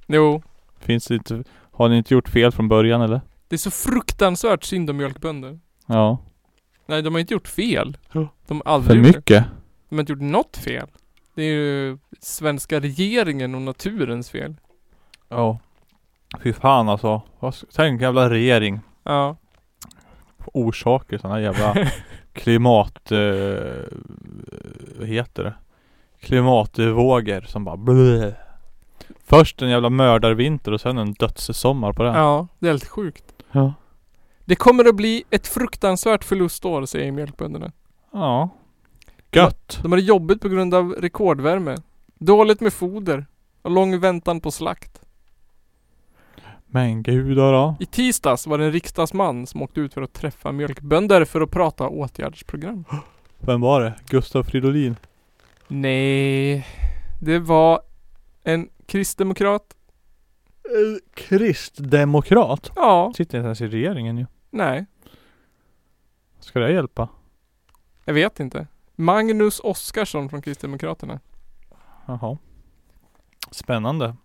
C: Jo.
B: Finns det inte... Har ni inte gjort fel från början eller?
C: Det är så fruktansvärt synd om mjölkbönder.
B: Ja.
C: Nej, de har inte gjort fel.
B: Ja.
C: De har aldrig
B: För
C: gjort det.
B: mycket.
C: De har inte gjort något fel. Det är ju svenska regeringen och naturens fel.
B: Ja. Fy fan alltså. Vad ska- Tänk jävla regering.
C: Ja.
B: orsaker, sådana jävla klimat... Eh, vad heter det? Klimatvågor som bara blö. Först en jävla mördarvinter och sen en dödssommar på den.
C: Ja, det är helt sjukt.
B: Ja.
C: Det kommer att bli ett fruktansvärt förlustår, säger mjölkbönderna.
B: Ja. Gött!
C: De har det jobbigt på grund av rekordvärme. Dåligt med foder. Och lång väntan på slakt.
B: Men gudar då.
C: I tisdags var det en riksdagsman som åkte ut för att träffa mjölkbönder för att prata åtgärdsprogram.
B: Vem var det? Gustav Fridolin?
C: Nej, det var en kristdemokrat.
B: En Eh, kristdemokrat?
C: Ja,
B: Sitter inte ens i regeringen ju.
C: nej,
B: Ska det hjälpa?
C: jag vet inte. Magnus Oskarsson från Kristdemokraterna.
B: Jaha. Spännande.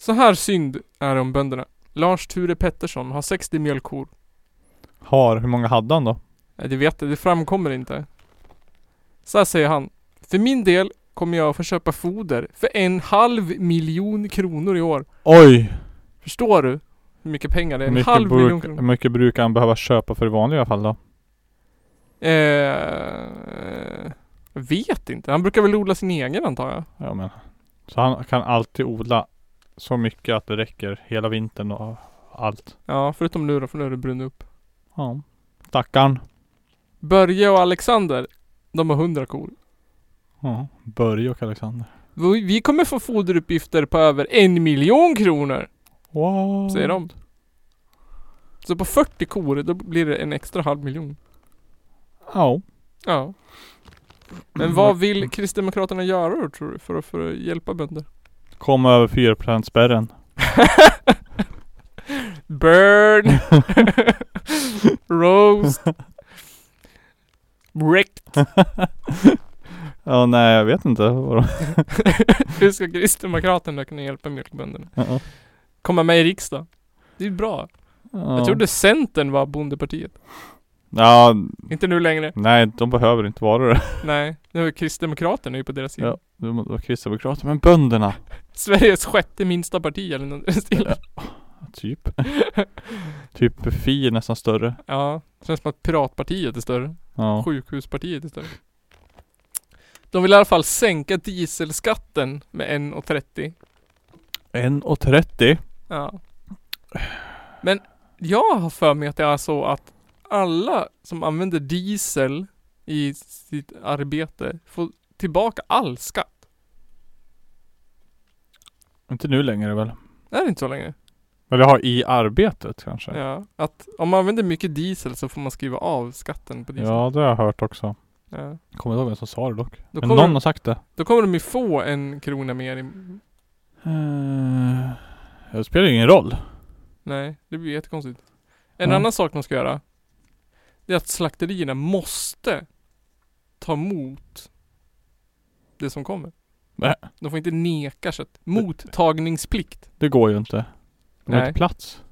C: Så här synd är det om bönderna. Lars Ture Pettersson har 60 mjölkkor.
B: Har, hur många hade han då?
C: Nej, Det vet jag, det framkommer inte. Så här säger han. För min del kommer jag att få köpa foder för en halv miljon kronor i år.
B: Oj!
C: Förstår du? Hur mycket pengar det är?
B: Hur
C: En
B: mycket,
C: halv miljon
B: bruk, hur
C: kronor.
B: mycket brukar han behöva köpa för i vanliga fall då?
C: Eh, Jag vet inte. Han brukar väl odla sin egen antar jag.
B: Ja men. Så han kan alltid odla så mycket att det räcker hela vintern och allt.
C: Ja, förutom nu då, för nu är det brunnit upp.
B: Ja. Stackarn.
C: Börje och Alexander, de har 100 kor.
B: Ja. Börje och Alexander.
C: Vi vi kommer få foderuppgifter på över en miljon kronor,
B: Wow.
C: säger de. Så på 40 kor, då blir det en extra halv miljon.
B: Ja.
C: Ja.
B: Mm.
C: Men vad vill Kristdemokraterna göra då, tror du, för att, för att hjälpa bönder?
B: Komma över 4 spärren.
C: Burn! Roast! Wrecked!
B: Ja nej jag vet inte. Vadå?
C: Hur ska Kristdemokraterna kunna hjälpa mjölkbönderna?
B: Ja.
C: Komma med i riksdagen? Det är ju bra.
B: Ja.
C: Jag trodde Centern var bondepartiet.
B: Ja.
C: Inte nu längre.
B: Nej de behöver inte vara det.
C: Nej, nu är Kristdemokraterna ju på deras sida.
B: Ja. Det måste vara Kristdemokrater. Men bönderna.
C: Sveriges sjätte minsta parti eller något i den stilen.
B: Typ. typ Fi är nästan större.
C: Ja, känns som att Piratpartiet är större.
B: Ja.
C: Sjukhuspartiet är större. De vill i alla fall sänka dieselskatten med 1,30.
B: 1,30.
C: Ja. Men jag har för mig att det är så att alla som använder diesel i sitt arbete får tillbaka all skatt.
B: Inte nu längre väl?
C: Det är inte så länge.
B: Eller har i arbetet kanske? Ja,
C: Ja, att om man använder mycket diesel så får man skriva av skatten på diesel.
B: det har jag hört också.
C: Ja.
B: Kommer inte ihåg vem som sa det dock.
C: Då
B: Men
C: kommer-
B: någon har sagt det.
C: Då kommer de ju få en krona mer i...
B: Eh, Det spelar ju ingen roll.
C: Nej, det blir jättekonstigt. En
B: Ja.
C: annan sak de ska göra. Det är att slakterierna måste ta emot det som kommer.
B: Nä.
C: De får inte neka kött. Mottagningsplikt.
B: Det går ju inte. De har
C: Nej.
B: inte plats.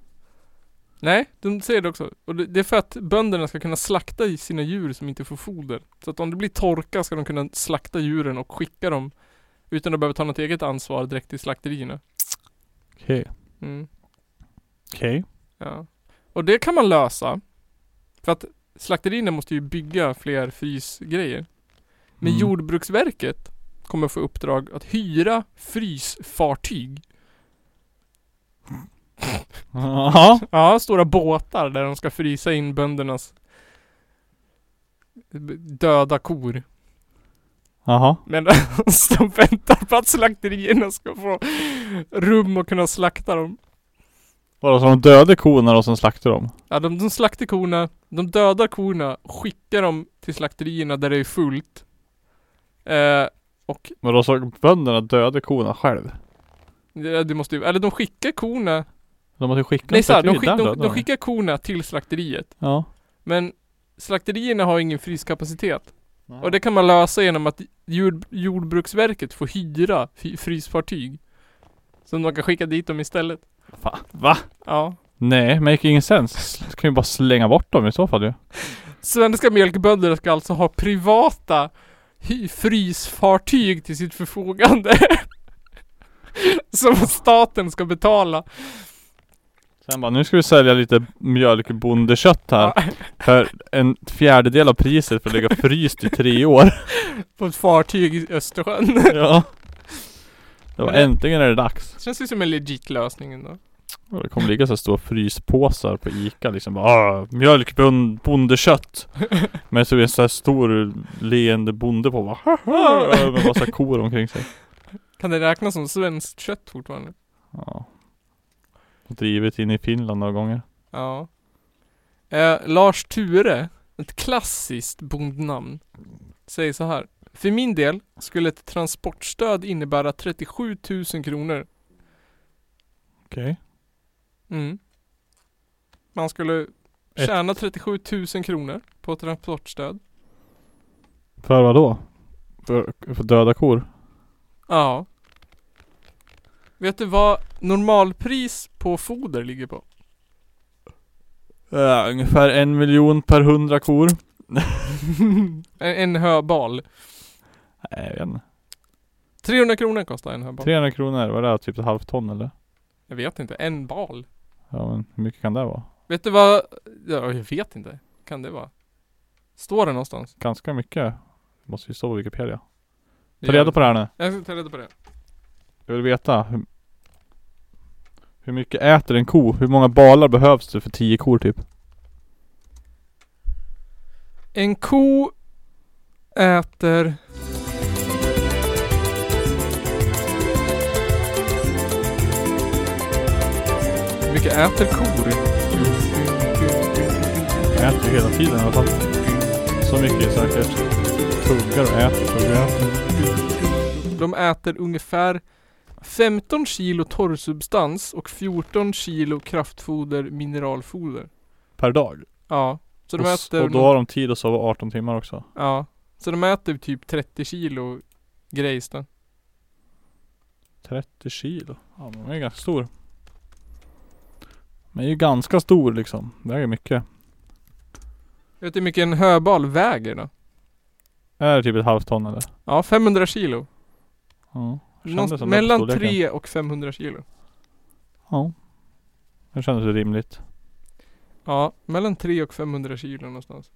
C: Nej, de säger det också. Och det det är för att bönderna ska kunna slakta i sina djur som inte får foder. Så att om det blir torka ska de kunna slakta djuren och skicka dem utan att behöva ta något eget ansvar direkt till slakterierna.
B: Okej. Mm.
C: Mm.
B: Okej.
C: Ja. Och det kan man lösa. För att slakterierna måste ju bygga fler frysgrejer. Men
B: Mm.
C: Jordbruksverket kommer få i uppdrag att hyra frysfartyg.
B: Jaha.
C: Ja, stora båtar där de ska frysa in böndernas b- döda kor.
B: Jaha.
C: Medan de väntar på att slakterierna ska få rum och kunna slakta dem.
B: Vadå, så de dödade korna och sen slaktade dem?
C: Ja, de, de slaktar korna, de dödar korna, skickar dem till slakterierna där det är fullt. Eh, och
B: Vadå, så bönderna dödade korna själv?
C: det, det måste ju, eller de skickar korna,
B: De måste ju skicka
C: nej
B: en
C: så här, de,
B: slakteriet,
C: skick, de,
B: där dödade
C: de skickar korna till slakteriet.
B: Ja.
C: Men slakterierna har ingen fryskapacitet. Och det kan man lösa genom att jord, Jordbruksverket får hyra fy- frysfartyg. Som de kan skicka dit dem istället.
B: Fan. Va?
C: Ja.
B: Nej, make ingen sense. Du kan ju bara slänga bort dem i så fall ju.
C: Svenska mjölkbönder ska alltså ha privata hy- frysfartyg till sitt förfogande. Som staten ska betala.
B: Sen bara, nu ska vi sälja lite mjölkbondekött här. För en fjärdedel av priset för att ligga fryst i tre år.
C: På ett fartyg i Östersjön.
B: ja. Det var äntligen är det dags.
C: Känns ju som en legit lösning ändå.
B: Och det kommer ligga så här stora fryspåsar på Ica liksom. Bara, "Ah, Mjölkbondekött. Men så är det en så här stor leende bonde på bara. "Haha", Med massa kor omkring sig.
C: Kan det räknas som svenskt kött fortfarande?
B: Ja. Och drivit in i Finland några gånger.
C: Ja. Eh, Lars Ture, ett klassiskt bondnamn, säger så här. För min del skulle ett transportstöd innebära 37 000 kronor
B: Okej.
C: Mm. Man skulle
B: Ett.
C: tjäna 37 000 kronor på transportstöd.
B: För vad då? För, för döda kor?
C: Ja. Vet du vad normalpris på foder ligger på?
B: Ja, Eh, ungefär en miljon per hundra kor.
C: En, en höbal.
B: Nej, jag vet inte.
C: 300 kronor kostar en höbal.
B: 300 kronor, vad är det? Typ ett halvt ton eller?
C: Jag vet inte, en bal.
B: Ja men hur mycket kan det vara?
C: Vet du vad? Ja, jag vet inte. Kan det vara? Står det någonstans?
B: Ganska mycket. Måste ju stå på Wikipedia. Ta
C: Jag-
B: reda på det här nu.
C: Jag ska ta reda på det.
B: Jag vill veta hur, hur mycket äter en ko? Hur många balar behövs det för 10 kor typ?
C: En ko äter... Hur mycket äter kor?
B: Jag äter hela tiden i alla fall. Så mycket säkert. Tuggar och äter, tuggar och äter.
C: De äter ungefär 15 kilo torrsubstans och 14 kilo kraftfoder mineralfoder.
B: Per dag.
C: Ja. Så de
B: och, s-
C: äter...
B: och då har de tid att sova 18 timmar också.
C: Ja. Så de äter typ 30 kilo grejs då.
B: 30 kilo. Ja, men den är ganska stor. Den är ju ganska stor liksom. Väger mycket.
C: Vet du hur mycket en höbal väger då?
B: Är det typ ett halvt ton eller?
C: Ja, 500 kilo.
B: Ja. Jag kände
C: Något
B: som den
C: mellan
B: storleken.
C: 3 och 500 kilo.
B: Ja. Det kändes ju rimligt.
C: Ja, mellan 3 och 500 kilo någonstans.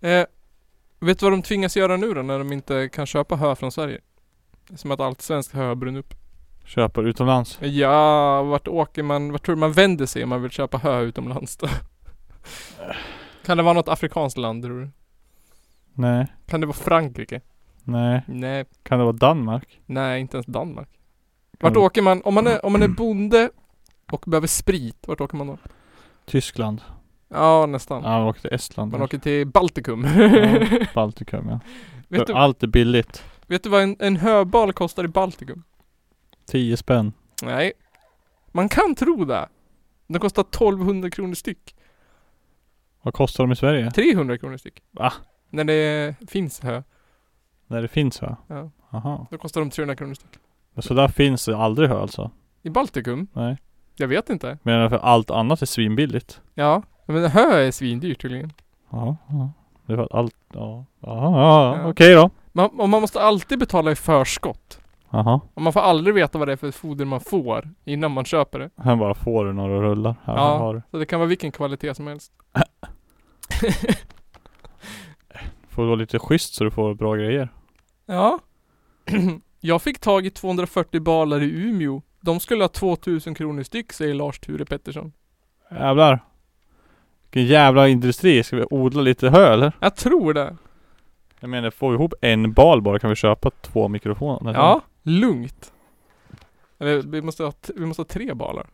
C: Eh, vet du vad de tvingas göra nu då när de inte kan köpa hö från Sverige? Som att allt svenskt hö har brunnit upp.
B: Köper utomlands.
C: Ja, vart åker man, vart tror du man vänder sig om man vill köpa hö utomlands då? kan det vara något afrikanskt land tror du?
B: Nej.
C: Kan det vara Frankrike?
B: Nej.
C: Nej,
B: Kan det vara Danmark?
C: nej inte ens Danmark.
B: Kan
C: Vart
B: det vara
C: åker man, om man, är, om
B: Mm.
C: man är bonde och behöver sprit, vart åker man då?
B: Tyskland?
C: Ja, nästan.
B: Ja, vi åker till Estland.
C: Man åker till Baltikum.
B: Ja, Baltikum ja.
C: vet, du,
B: Allt är billigt.
C: vet du vad en, en höbal kostar i Baltikum?
B: 10 spänn.
C: Nej. Man kan tro det. De kostar 1200 kronor styck.
B: Vad kostar de i Sverige?
C: 300 kronor styck.
B: Va?
C: När det finns hö.
B: När det finns hö?
C: Ja.
B: Aha.
C: Då kostar de 300 kronor styck.
B: Men så där finns det aldrig hö alltså?
C: I Baltikum?
B: Nej.
C: Jag vet inte.
B: Men för allt annat är svinbilligt?
C: Ja. Men hö är svindyrt tydligen.
B: Jaha. ja. Det var allt, ja. Aha, ja.
C: Ja.
B: ja. Okej då.
C: Man, och man måste alltid betala i förskott.
B: Jaha.
C: Och man får aldrig veta vad det är för foder man får innan man köper det.
B: Han bara får du några rullar. Här
C: Ja.
B: har du.
C: Så det kan vara vilken kvalitet som helst.
B: Får du vara lite schysst så du får bra grejer.
C: Ja. Jag fick tag i 240 balar i Umeå. De skulle ha 2000 kronor styck säger Lars-Ture Pettersson.
B: Jävlar. Vilken jävla industri. Ska vi odla lite hö eller?
C: Jag tror det.
B: Jag menar, får vi ihop en bal bara kan vi köpa två mikrofoner.
C: Ja, lugnt. Eller vi måste ha, t- vi måste ha tre balar.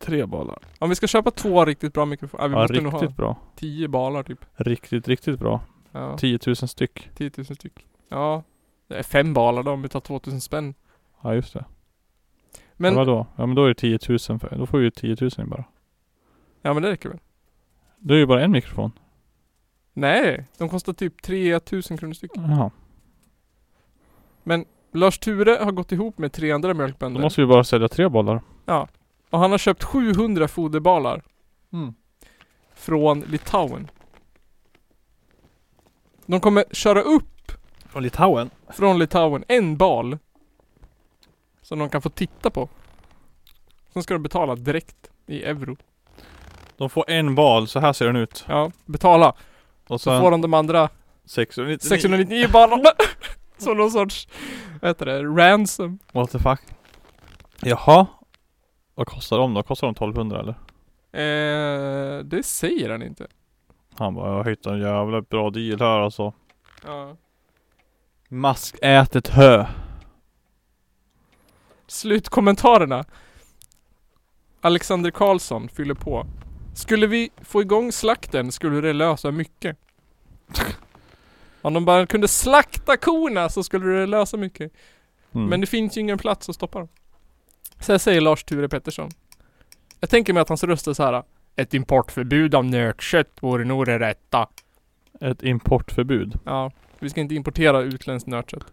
B: Tre balar.
C: Om vi ska köpa två riktigt bra mikrofoner. Ja, vi
B: Ja,
C: måste nog ha
B: riktigt bra.
C: tio balar typ.
B: Riktigt, riktigt bra.
C: Ja,
B: 10 000 styck.
C: 10 000 styck. Ja. Det är fem balar då om vi tar 2000 spänn.
B: Ja just det.
C: Men,
B: Men... Vadå? Ja men då är det 10 000 för, då får vi ju 10 000 in bara.
C: ja men det räcker väl?
B: Då är det ju bara en mikrofon.
C: Nej, de kostar typ 3000 kronor styck.
B: Jaha.
C: Lars-Ture har gått ihop med tre andra
B: Då
C: mjölkbönder.
B: måste vi bara sälja tre bollar.
C: Och han har köpt 700 foderbalar.
B: Mm.
C: från Litauen. De kommer köra upp
B: Från Litauen?
C: från Litauen en bal. Som de kan få titta på. Sen ska de betala direkt i euro.
B: De får en bal, så här ser den ut.
C: Ja, betala.
B: Och
C: Så
B: sen
C: får de de andra
B: 699.
C: 699 balarna. Som någon sorts, vad heter det, ransom.
B: What the fuck? Jaha. Vad kostar de då? Kostar de 1200 eller?
C: Eh, det säger han inte.
B: Han bara, jag har hittat en jävla bra deal här alltså.
C: Ja.
B: Maskätet hö.
C: Slutkommentarerna. Alexander Karlsson fyller på. Skulle vi få igång slakten skulle det lösa mycket. Om de bara kunde slakta korna så skulle det lösa mycket.
B: Mm.
C: Men det finns ju ingen plats att stoppa dem. Så här säger Lars-Ture Pettersson. Jag tänker mig att hans röst är så här. Ett importförbud av nötkött vore nog det rätta.
B: Ett importförbud.
C: Ja, vi ska inte importera utländskt nötkött.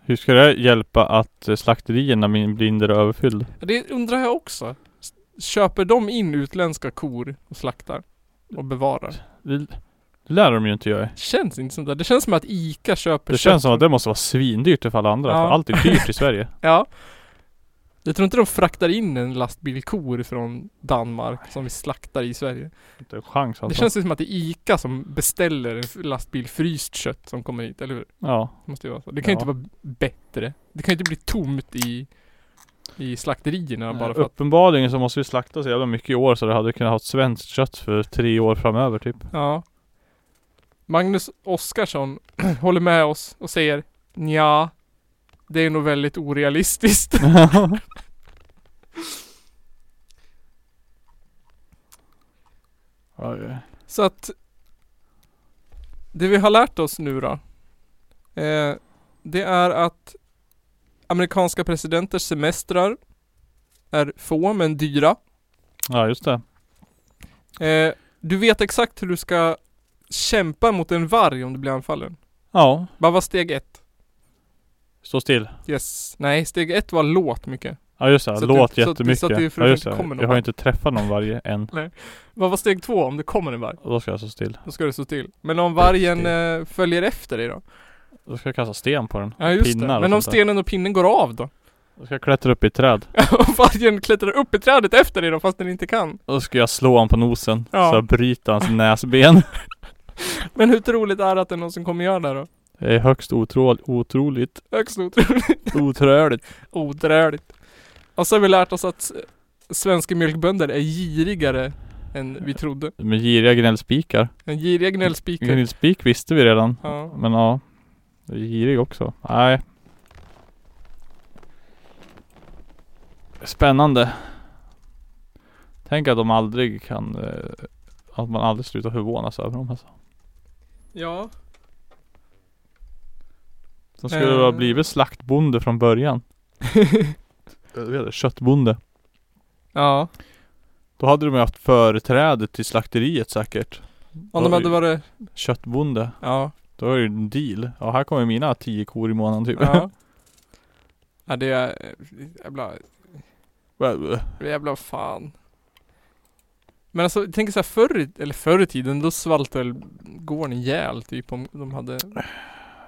B: Hur ska det hjälpa att eh, slakterierna min- blir mindre överfyllda?
C: Det undrar jag också. S- Köper de in utländska kor och slaktar? Och bevarar?
B: Det det lär de ju inte göra.
C: Känns inte som det. Det känns som att ICA köper
B: Det
C: kött
B: känns som att det måste vara svindyrt för alla andra.
C: Ja.
B: För allt är dyrt i Sverige.
C: Ja. Jag tror inte de fraktar in en lastbil kor från Danmark som vi slaktar i Sverige.
B: Inte en chans
C: Det
B: alltså.
C: känns ju som att det är ICA som beställer en f- lastbil fryst kött som kommer hit, eller hur?
B: Ja.
C: Det måste ju vara så. Det kan ju
B: Ja.
C: inte vara bättre. Det kan ju inte bli tomt i, i slakterierna bara för att...
B: Uppenbarligen så måste vi slakta så jävla mycket i år så det hade kunnat ha ett svenskt kött för tre år framöver typ.
C: Ja. Magnus Oskarsson håller med oss och säger ja det är nog väldigt orealistiskt.
B: Oj.
C: Så att Det vi har lärt oss nu då eh, Det är att Amerikanska presidenters semestrar Är få men dyra
B: Ja just det.
C: eh, Du vet exakt hur du ska Kämpa mot en varg om du blir anfallen
B: Ja.
C: Vad var steg ett?
B: Stå still.
C: Yes Nej, steg ett var låt mycket
B: Ja just det.
C: Så att
B: Låt
C: du- så att- så att
B: jättemycket.
C: det- för
B: ja
C: att
B: just
C: det
B: det.
C: kommer någon
B: Jag har
C: varg.
B: inte träffat någon varje än.
C: Vad var steg två om det kommer en varg?
B: Och då ska jag stå still.
C: Då ska du stå till Men om vargen eh, följer efter dig då?
B: Då ska jag kasta sten på den.
C: Ja just
B: Pinnar
C: det
B: och
C: Men om
B: sånt där.
C: stenen och pinnen går av då?
B: Då ska jag klättra upp i ett träd.
C: Och vargen klättrar upp i trädet efter dig då fast den inte kan.
B: Då ska jag slå honom på nosen.
C: Ja.
B: Så jag bryter hans näsben.
C: Men hur troligt är det att det är någon som kommer göra det då?
B: Det är högst otro- otroligt.
C: Högst otroligt.
B: Otröligt.
C: Odröligt. Och så har vi lärt oss att s- svenska mjölkbönder är girigare än vi trodde.
B: Med giriga gnällspikar.
C: En giriga gnällspikar.
B: Gnällspik visste vi redan.
C: Ja.
B: Men ja. Girig också. Nej. Spännande. Tänk att de aldrig kan... eh, Att man aldrig slutar förvånas över dem alltså.
C: ja.
B: De skulle ha
C: Eh.
B: blivit slaktbonde från början. Jag vet inte, Köttbonde.
C: Ja.
B: Då hade de ju haft företräde till slakteriet säkert.
C: Om de hade varit...
B: Köttbonde.
C: Ja.
B: Då är det ju en deal. Ja, här kommer mina tio kor i månaden typ.
C: Ja. Ja det är... Jävla...
B: eh,
C: Jävla fan. Men alltså, jag tänker såhär förr, i- eller förr i tiden, då svalt väl gården ihjäl typ om de hade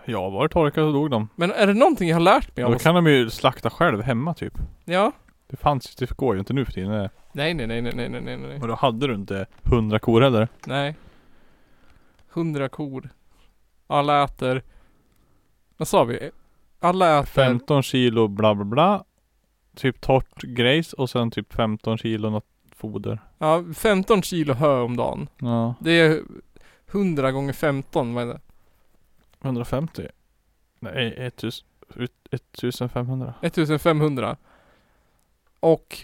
B: ja, var det torkat så dog de.
C: Men är det någonting jag har lärt mig av
B: Då
C: oss?
B: kan de ju slakta själv hemma typ.
C: Ja?
B: Det fanns ju, det går ju inte nu för tiden. nej.
C: Nej, nej, nej, nej, nej, nej, nej, nej,
B: Och då hade du inte hundra kor heller.
C: nej. Hundra kor. Alla äter... Vad sa vi? Alla äter...
B: 15 kilo bla bla bla. Typ torrt grejs och sen typ 15 kilo något foder.
C: Ja, 15 kilo hö om dagen.
B: Ja,
C: Det är 100 gånger 15, vad är det?
B: 150. Nej, 1000 ut- 1500.
C: 1500. Och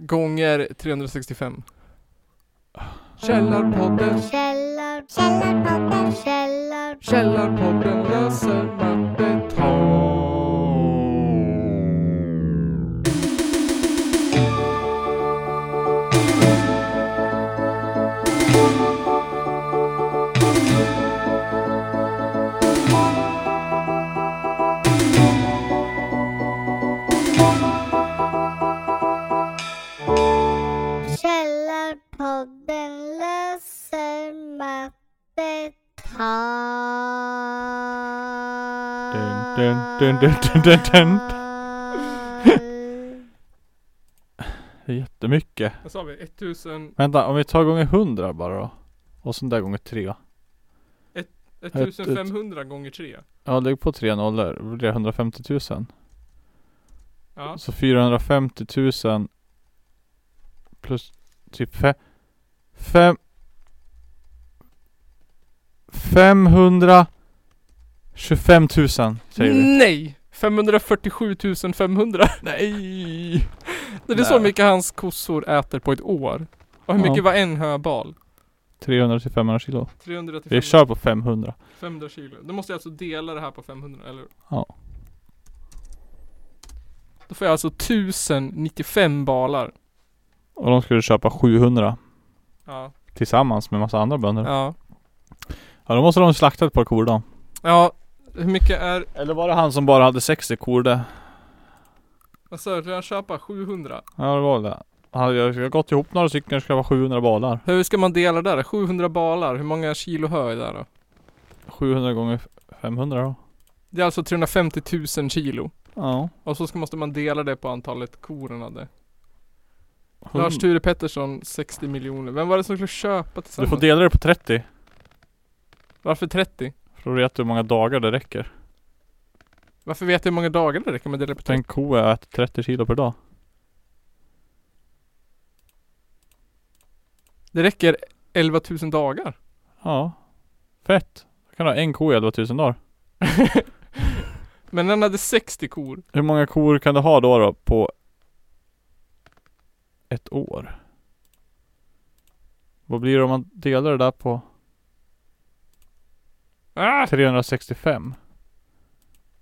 C: gånger 365. Källarpodden,
D: Källar, källarpodden, källar,
C: Källarpodden läser mattetal.
D: källarpodden läser mattetal.
B: Dun, dun, dun, dun, dun, dun, Det är jättemycket.
C: Vad sa vi? 1000...
B: Vänta, om vi tar gånger 100 bara då. Och sån där gånger 3.
C: 1500 gånger 3.
B: Ja, lägg på tre nollor. Då blir det 150 000.
C: Ja.
B: Så 450 000 plus typ fe, fem, 525 000 säger vi.
C: Nej! 547 500.
B: Nej!
C: Det är så
B: Nej.
C: mycket hans kossor äter på ett år. Och hur
B: Ja.
C: mycket var en höbal?
B: 300 till 500 kilo.
C: 300 till
B: Vi
C: 500,
B: kör på 500.
C: 500 kilo. Då måste jag alltså dela det här på 500, eller hur?
B: Ja.
C: Då får jag alltså 1095 balar.
B: Och de skulle köpa 700
C: Ja.
B: tillsammans med massa andra bönder. Ja,
C: Ja.
B: då måste de slakta ett par kor då.
C: Ja. Hur mycket är...
B: Eller var det han som bara hade 60 kor det?
C: Vad sa du? Får jag köpa? 700?
B: Ja det var det. Han- Jag jag har gått ihop några stycken, ska vara 700 balar.
C: Hur ska man dela det där? 700 balar. Hur många kilo hö är det där då?
B: 700 gånger 500 då.
C: Det är alltså 350 000 kilo.
B: Ja.
C: Och så ska, måste man dela det på antalet kor han hade.
B: Hund-
C: Lars Ture Pettersson 60 miljoner. Vem var det som skulle köpa
B: Du
C: tillsammans?
B: får dela det på 30.
C: Varför 30?
B: För då vet du hur många dagar det räcker.
C: Varför vet jag hur många dagar det räcker med att dela på 30?
B: Tänk ko äter 30 kilo per dag.
C: Det räcker 11 000 dagar.
B: Ja. Fett. Då kan du ha en ko i 11 000 dagar.
C: Men han hade 60 kor.
B: Hur många kor kan du ha då, då på ett år? Vad blir det om man delar det där på
C: Ah!
B: 365?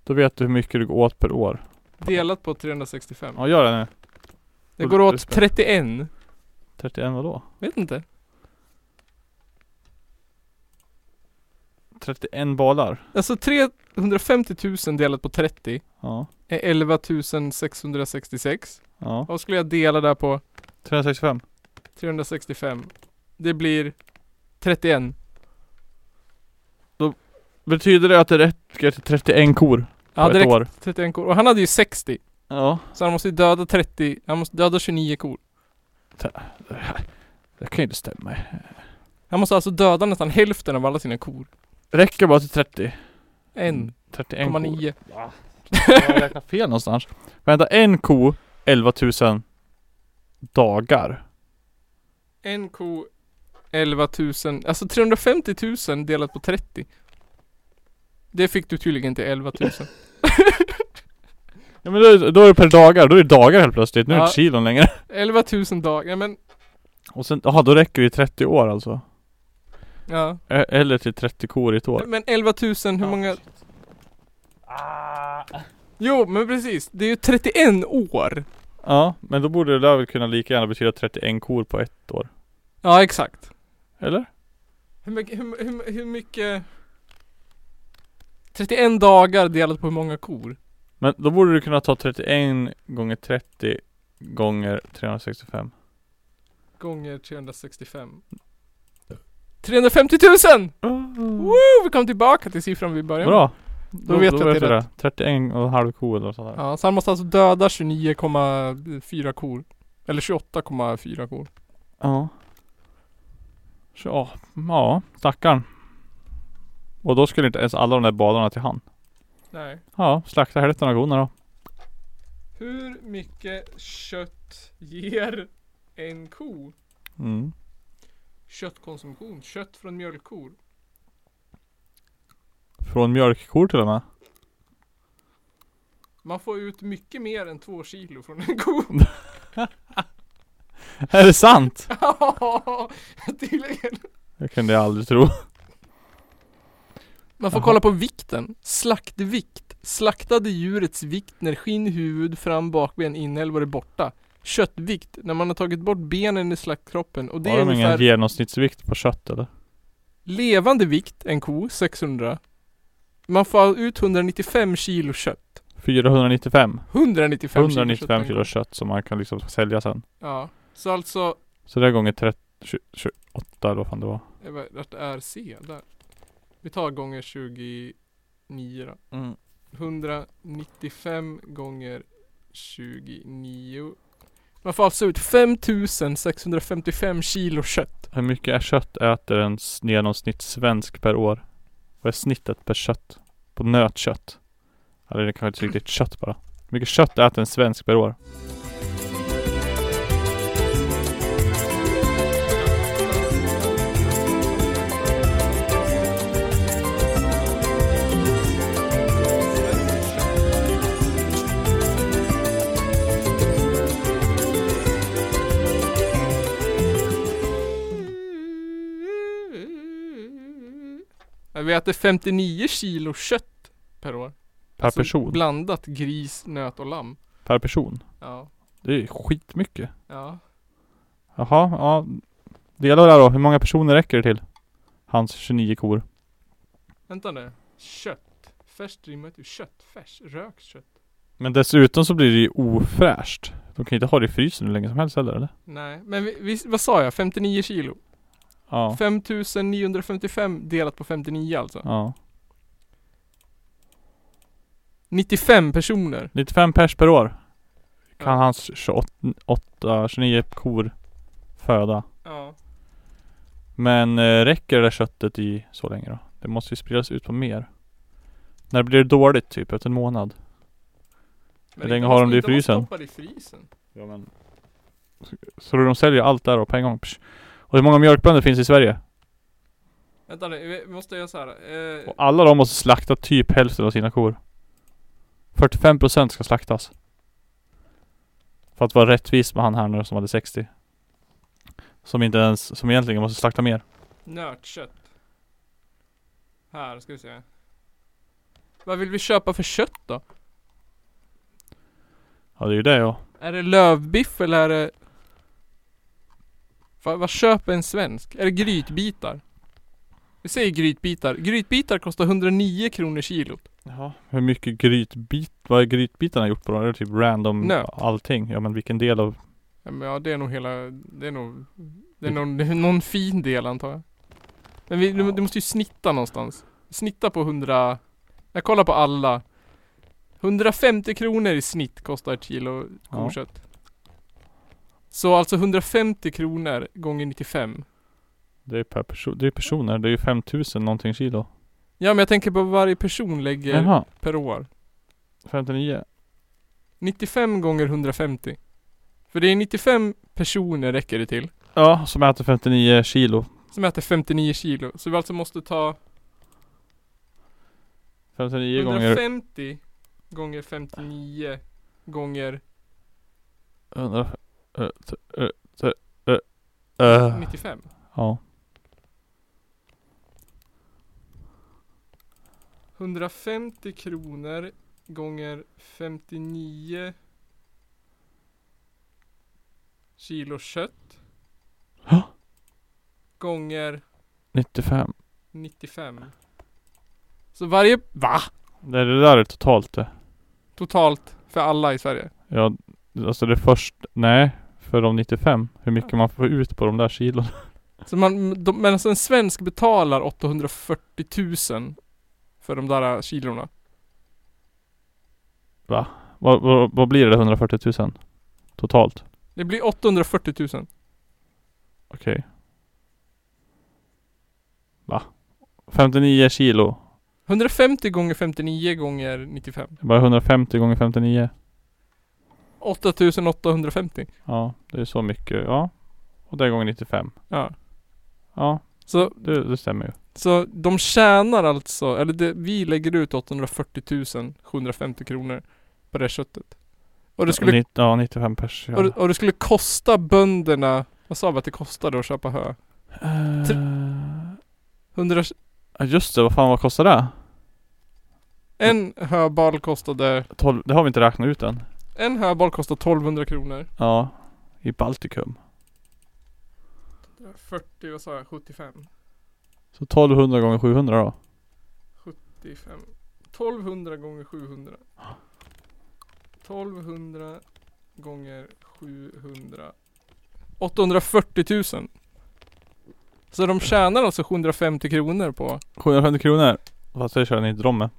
B: Då vet du hur mycket du går åt per år.
C: Delat på 365.
B: Ja, gör det nu.
C: Det går åt 31.
B: 31 vadå?
C: Vet inte.
B: 31 balar.
C: Alltså 350 000 delat på 30
B: Ja.
C: är 11 666.
B: Ja.
C: Och skulle jag dela där på
B: 365.
C: 365. Det blir 31.
B: Betyder det att det räcker till 31 kor på
C: Ja,
B: ett
C: direkt
B: år?
C: 31 kor. Och han hade ju 60.
B: Ja.
C: Så han måste ju döda 30, han måste döda 29 kor.
B: Det kan ju inte stämma.
C: Han måste alltså döda nästan hälften av alla sina kor.
B: Räcker bara till 30.
C: En,
B: 31
C: komma
B: Mm, kor.
C: nio.
B: Jag har räknat fel någonstans. Vänta, en ko, 11 000 dagar.
C: En ko, 11 000. Alltså 350 000 delat på 30. Det fick du tydligen till 11 000.
B: Ja men då, är- då är det per dagar, då är det dagar helt plötsligt. Nu är det
C: Ja.
B: inte kilon längre.
C: 11 000 dagar, ja, men
B: Och sen, jaha då räcker det i 30 år alltså.
C: ja.
B: E- Eller till 30 kor i ett år.
C: Men 11 000, hur
B: Ja.
C: många? Ah. Jo, men precis. Det är ju 31 år.
B: Ja, men då borde det där väl kunna lika gärna betyda 31 kor på ett år.
C: Ja, exakt.
B: Eller?
C: Hur mycket, hur, hur, hur mycket? 31 dagar delat på hur många kor?
B: Men då borde du kunna ta 31 gånger 30 gånger 365.
C: Gånger 365. 350 000! Woo! Vi kom tillbaka till siffran vi började med.
B: Bra! Då,
C: vet jag att det är
B: det. 31 och en halv ko eller något sånt där.
C: Ja, så han måste alltså döda 29,4 kor. Eller 28,4 kor.
B: Ja. Så, ja, ja, stackarn. Och då skulle inte ens alla de där badarna till han.
C: Nej.
B: Ja, slakta hälften av korna då.
C: Hur mycket kött ger en ko?
B: Mm.
C: Köttkonsumtion. Kött från mjölkkor.
B: Från mjölkkor till och med.
C: Man får ut mycket mer än två kilo från en ko.
B: Är det sant?
C: Ja, Tydligen.
B: Det kunde jag aldrig tro.
C: Man får
B: Jaha.
C: kolla på vikten. Slaktvikt. Slaktade djurets vikt när skinn, huvud, fram, bakben, inälvor är borta. Köttvikt. När man har tagit bort benen i slaktkroppen. Och det
B: Har
C: är
B: de ingen
C: ungefär
B: genomsnittsvikt på kött eller?
C: levande vikt, en ko, 600. Man får ut 195 kilo kött.
B: 495.
C: 195,
B: 195
C: kilo
B: kilo kött som man kan liksom sälja sen.
C: Ja. Så alltså,
B: Så det är gånger 30, 28 eller vad fan det var.
C: eh, vad- vart är C där? Vi tar gånger 29 då. 195 gånger 29. Man får alltså ut 5655 kilo kött.
B: Hur mycket kött äter en s- genomsnittssvensk per år? Vad är snittet per kött? På nötkött? Eller det kanske inte är riktigt kött bara. Hur mycket kött äter en svensk per år?
C: Ja, Vi äter 59 kilo kött per år.
B: Per
C: Alltså,
B: person?
C: Blandat gris, nöt och lamm.
B: Per person?
C: Ja.
B: Det är ju skitmycket.
C: Ja.
B: Jaha, ja. Dela det här då. Hur många personer räcker det till? Hans 29 kor.
C: Vänta nu. Kött. Färskt rimmar ju kött. Färs. Rökt kött.
B: Men dessutom så blir det ju ofräscht. De kan ju inte ha det i frysen hur länge som helst heller eller?
C: Nej, men vi, vi, vad sa jag? 59 kilo.
B: Ja.
C: 5955 delat på 59 alltså.
B: Ja.
C: 95 personer.
B: 95 pers per år kan
C: Ja.
B: hans 28, 29 kor föda.
C: Ja.
B: Men eh, räcker det där köttet i så länge då? Det måste ju spridas ut på mer. När blir det dåligt? Typ efter en månad? Hur länge har de det i frysen?
C: i frysen?
B: Ja, men... Så de säljer allt där och på en gång? Psh. Och hur många mjölkbönder finns i Sverige?
C: Vänta nu, vi måste göra så här. Eh,
B: Och alla de måste slakta typ hälften av sina kor. 45% ska slaktas. För att vara rättvis med han här nu som hade 60. Som inte ens, som egentligen måste slakta mer.
C: nötkött. Här ska vi se. Vad vill vi köpa för kött då?
B: Ja det är ju det ja.
C: Är det lövbiff eller är det... Va, vad köper en svensk? Är det grytbitar? Vi säger grytbitar. Grytbitar kostar 109 kronor kilot.
B: Jaha. Hur mycket grytbit, vad är grytbitarna gjort på då? Är det typ random
C: Nöt.
B: allting? Ja men vilken del av
C: Ja, men ja det är nog hela... Det är nog... Det är någon, det är någon fin del antar jag. Men vi, du, du måste ju snitta någonstans. Snitta på 100... Jag kollar på alla. 150 kronor i snitt kostar ett kilo
B: Ja.
C: kokött. Så alltså 150 kronor gånger 95.
B: det är per person, det är personer, det är ju 5000 någonting kilo.
C: Ja men jag tänker på vad varje person lägger
B: Jaha,
C: per år.
B: 59.
C: 95 gånger 150. För det är 95 personer räcker det till.
B: Ja, som äter 59 kilo.
C: Som äter 59 kilo. Så vi alltså måste ta
B: 59 gånger
C: 150 gånger 59 gånger
B: 100, eh, t- eh, t- eh, eh.
C: 95.
B: Ja.
C: 150 kronor gånger 59 kilo kött.
B: Hå?
C: Gånger
B: 95.
C: 95. Så varje... Va?
B: Det, det där är totalt det.
C: Totalt för alla i Sverige.
B: Ja, alltså det först... Nej, för de 95. Hur mycket man får ut på de där kilon.
C: Så man, de, men alltså en svensk betalar 840 000 för de där kilorna.
B: Vad, vad, vad blir det? 140 000? Totalt?
C: Det blir 840 000.
B: Okej. Va? 59 kilo.
C: 150 gånger 59 gånger 95.
B: Det är bara 150 gånger 59.
C: 8850.
B: Ja, det är så mycket. Ja. Och det är gånger 95.
C: Ja.
B: Ja,
C: Så,
B: det, det stämmer ju.
C: så de tjänar alltså, eller det, vi lägger ut 840 750 kronor på det köttet. Och det skulle,
B: Nitt- ja, 95 pers. Ja.
C: och, det- och det skulle kosta bönderna, vad sa vi att det kostade att köpa hö?
B: Eh,
C: 100,
B: ja, just det, vad fan vad kostar det?
C: en höbal kostade,
B: 12, det har vi inte räknat ut än.
C: en höbal kostade 1200 kronor.
B: Ja, i Baltikum.
C: 40, vad sa jag? 75?
B: Så 1200 gånger 700 då.
C: 75. 1200 gånger 700. 1200 gånger 700. 840 000. Så de tjänar alltså 750 kronor på...
B: 750 kronor. Fast det körde ni inte dem med.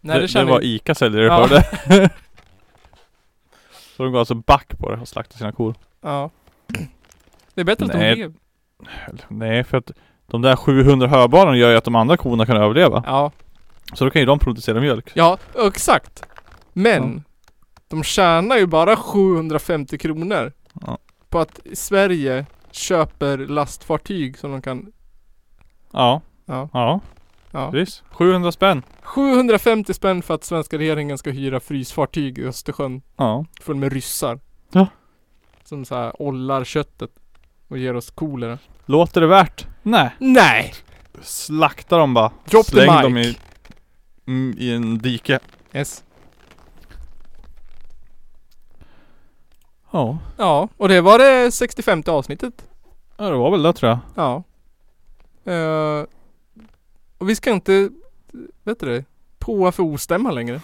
C: Nej det,
B: det, det,
C: tjänar
B: var
C: ju-
B: ICA säljer det
C: Ja.
B: för det. Så de går alltså back på det och slaktar sina kor.
C: Ja. Det är bättre att
B: Nej.
C: de lever.
B: Nej, för att de där 700 höbaren gör ju att de andra korna kan överleva.
C: Ja.
B: Så då kan ju de producera mjölk.
C: Ja, exakt. Men de tjänar ju bara 750 kronor
B: Ja.
C: på att Sverige köper lastfartyg som de kan...
B: Ja.
C: Ja.
B: Ja,
C: Ja.
B: precis. 700 spänn.
C: 750 spänn för att svenska regeringen ska hyra frysfartyg i Östersjön
B: Ja.
C: full med ryssar.
B: Ja.
C: Som så här ollar köttet och ger oss kolera.
B: Låter det värt? Nej.
C: Nej!
B: Slakta dem bara.
C: Drop the
B: Släng
C: mic.
B: dem i, mm, i en dike.
C: Yes.
B: Ja.
C: Ja, och det var det 65 avsnittet.
B: Ja, det var väl det tror jag.
C: Ja. Eh, och vi ska inte, vet du det, på för ostämma längre.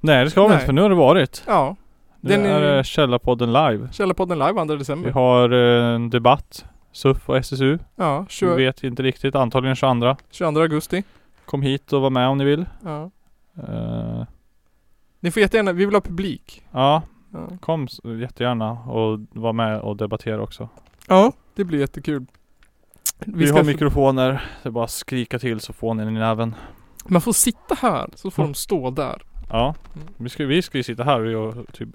B: Nej, det ska vi
C: Nej.
B: inte för nu har det varit.
C: Ja.
B: Nu
C: Den
B: är
C: är- Mm.
B: det Källarpodden live.
C: Källarpodden live 2
B: Vi
C: december.
B: har eh, en debatt. SUF och SSU.
C: Ja,
B: Vi
C: 20,
B: vet inte riktigt. Antagligen 22.
C: 22 augusti.
B: Kom hit och var med om ni vill.
C: Ja.
B: Eh,
C: Ni får jättegärna, vi vill ha publik.
B: Ja,
C: Ja,
B: kom s- jättegärna och var med och debattera också.
C: ja det blir jättekul.
B: Vi,
C: ska
B: har
C: få-
B: mikrofoner, det är bara att skrika till så får ni den i näven.
C: Man får sitta här, så får
B: Ja.
C: de stå där.
B: Ja,
C: Mm.
B: vi ska, vi ska ju sitta här och typ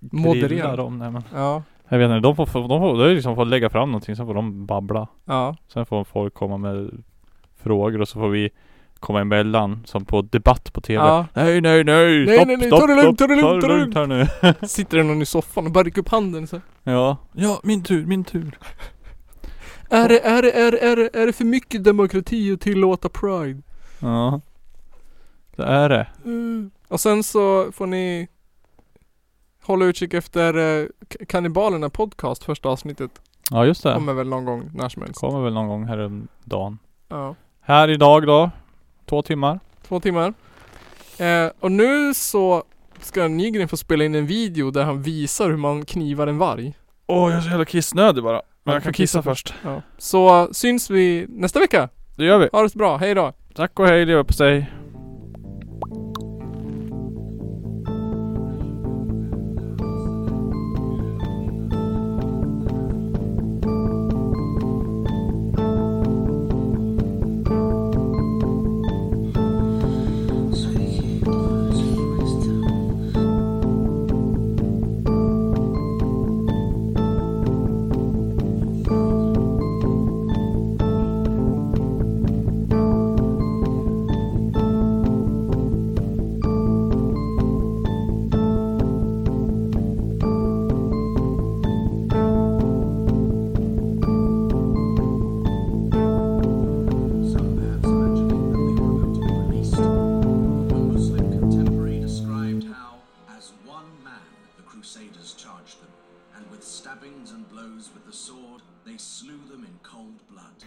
B: grilla
C: Moderera.
B: dem. Nej, men.
C: Ja,
B: Jag vet inte, de får, de får, de får liksom får lägga fram någonting, sen får de babbla.
C: ja,
B: Sen får folk komma med frågor och så får vi komma emellan som på debatt på TV.
C: ja.
B: Nej, nej, nej,
C: Nej,
B: stopp,
C: nej, nej,
B: stopp,
C: ta det lugnt,
B: stopp,
C: ta det lugnt, ta det
B: här nu.
C: Sitter det någon i soffan och bara rycker upp handen så här,
B: Ja. ja, min tur, min tur.
C: är det, är det, är det, är det, är det för mycket demokrati att tillåta pride?
B: Ja. Det är det.
C: Eh. Och sen så får ni hålla utkik efter eh, K- Kannibalerna podcast, första avsnittet.
B: Ja, just det.
C: Kommer väl någon gång när som helst.
B: Kommer väl någon gång här om dagen.
C: Ja.
B: Här idag då. Två timmar.
C: Två timmar. Eh, och nu så ska Nygren få spela in en video där han visar hur man knivar en varg.
B: Åh, jag är så jävla kissnödig bara. Men jag kan kissa först.
C: Ja. Så syns vi nästa vecka.
B: Det gör vi.
C: Ha det så bra, hej då!
B: Tack och hej leverpastej.
E: Some maps imagining that they were about to be released. One Muslim contemporary described how, as one man, the Crusaders charged them, and with stabbings and blows with the sword, they slew them in cold blood.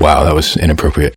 F: Wow, that was inappropriate.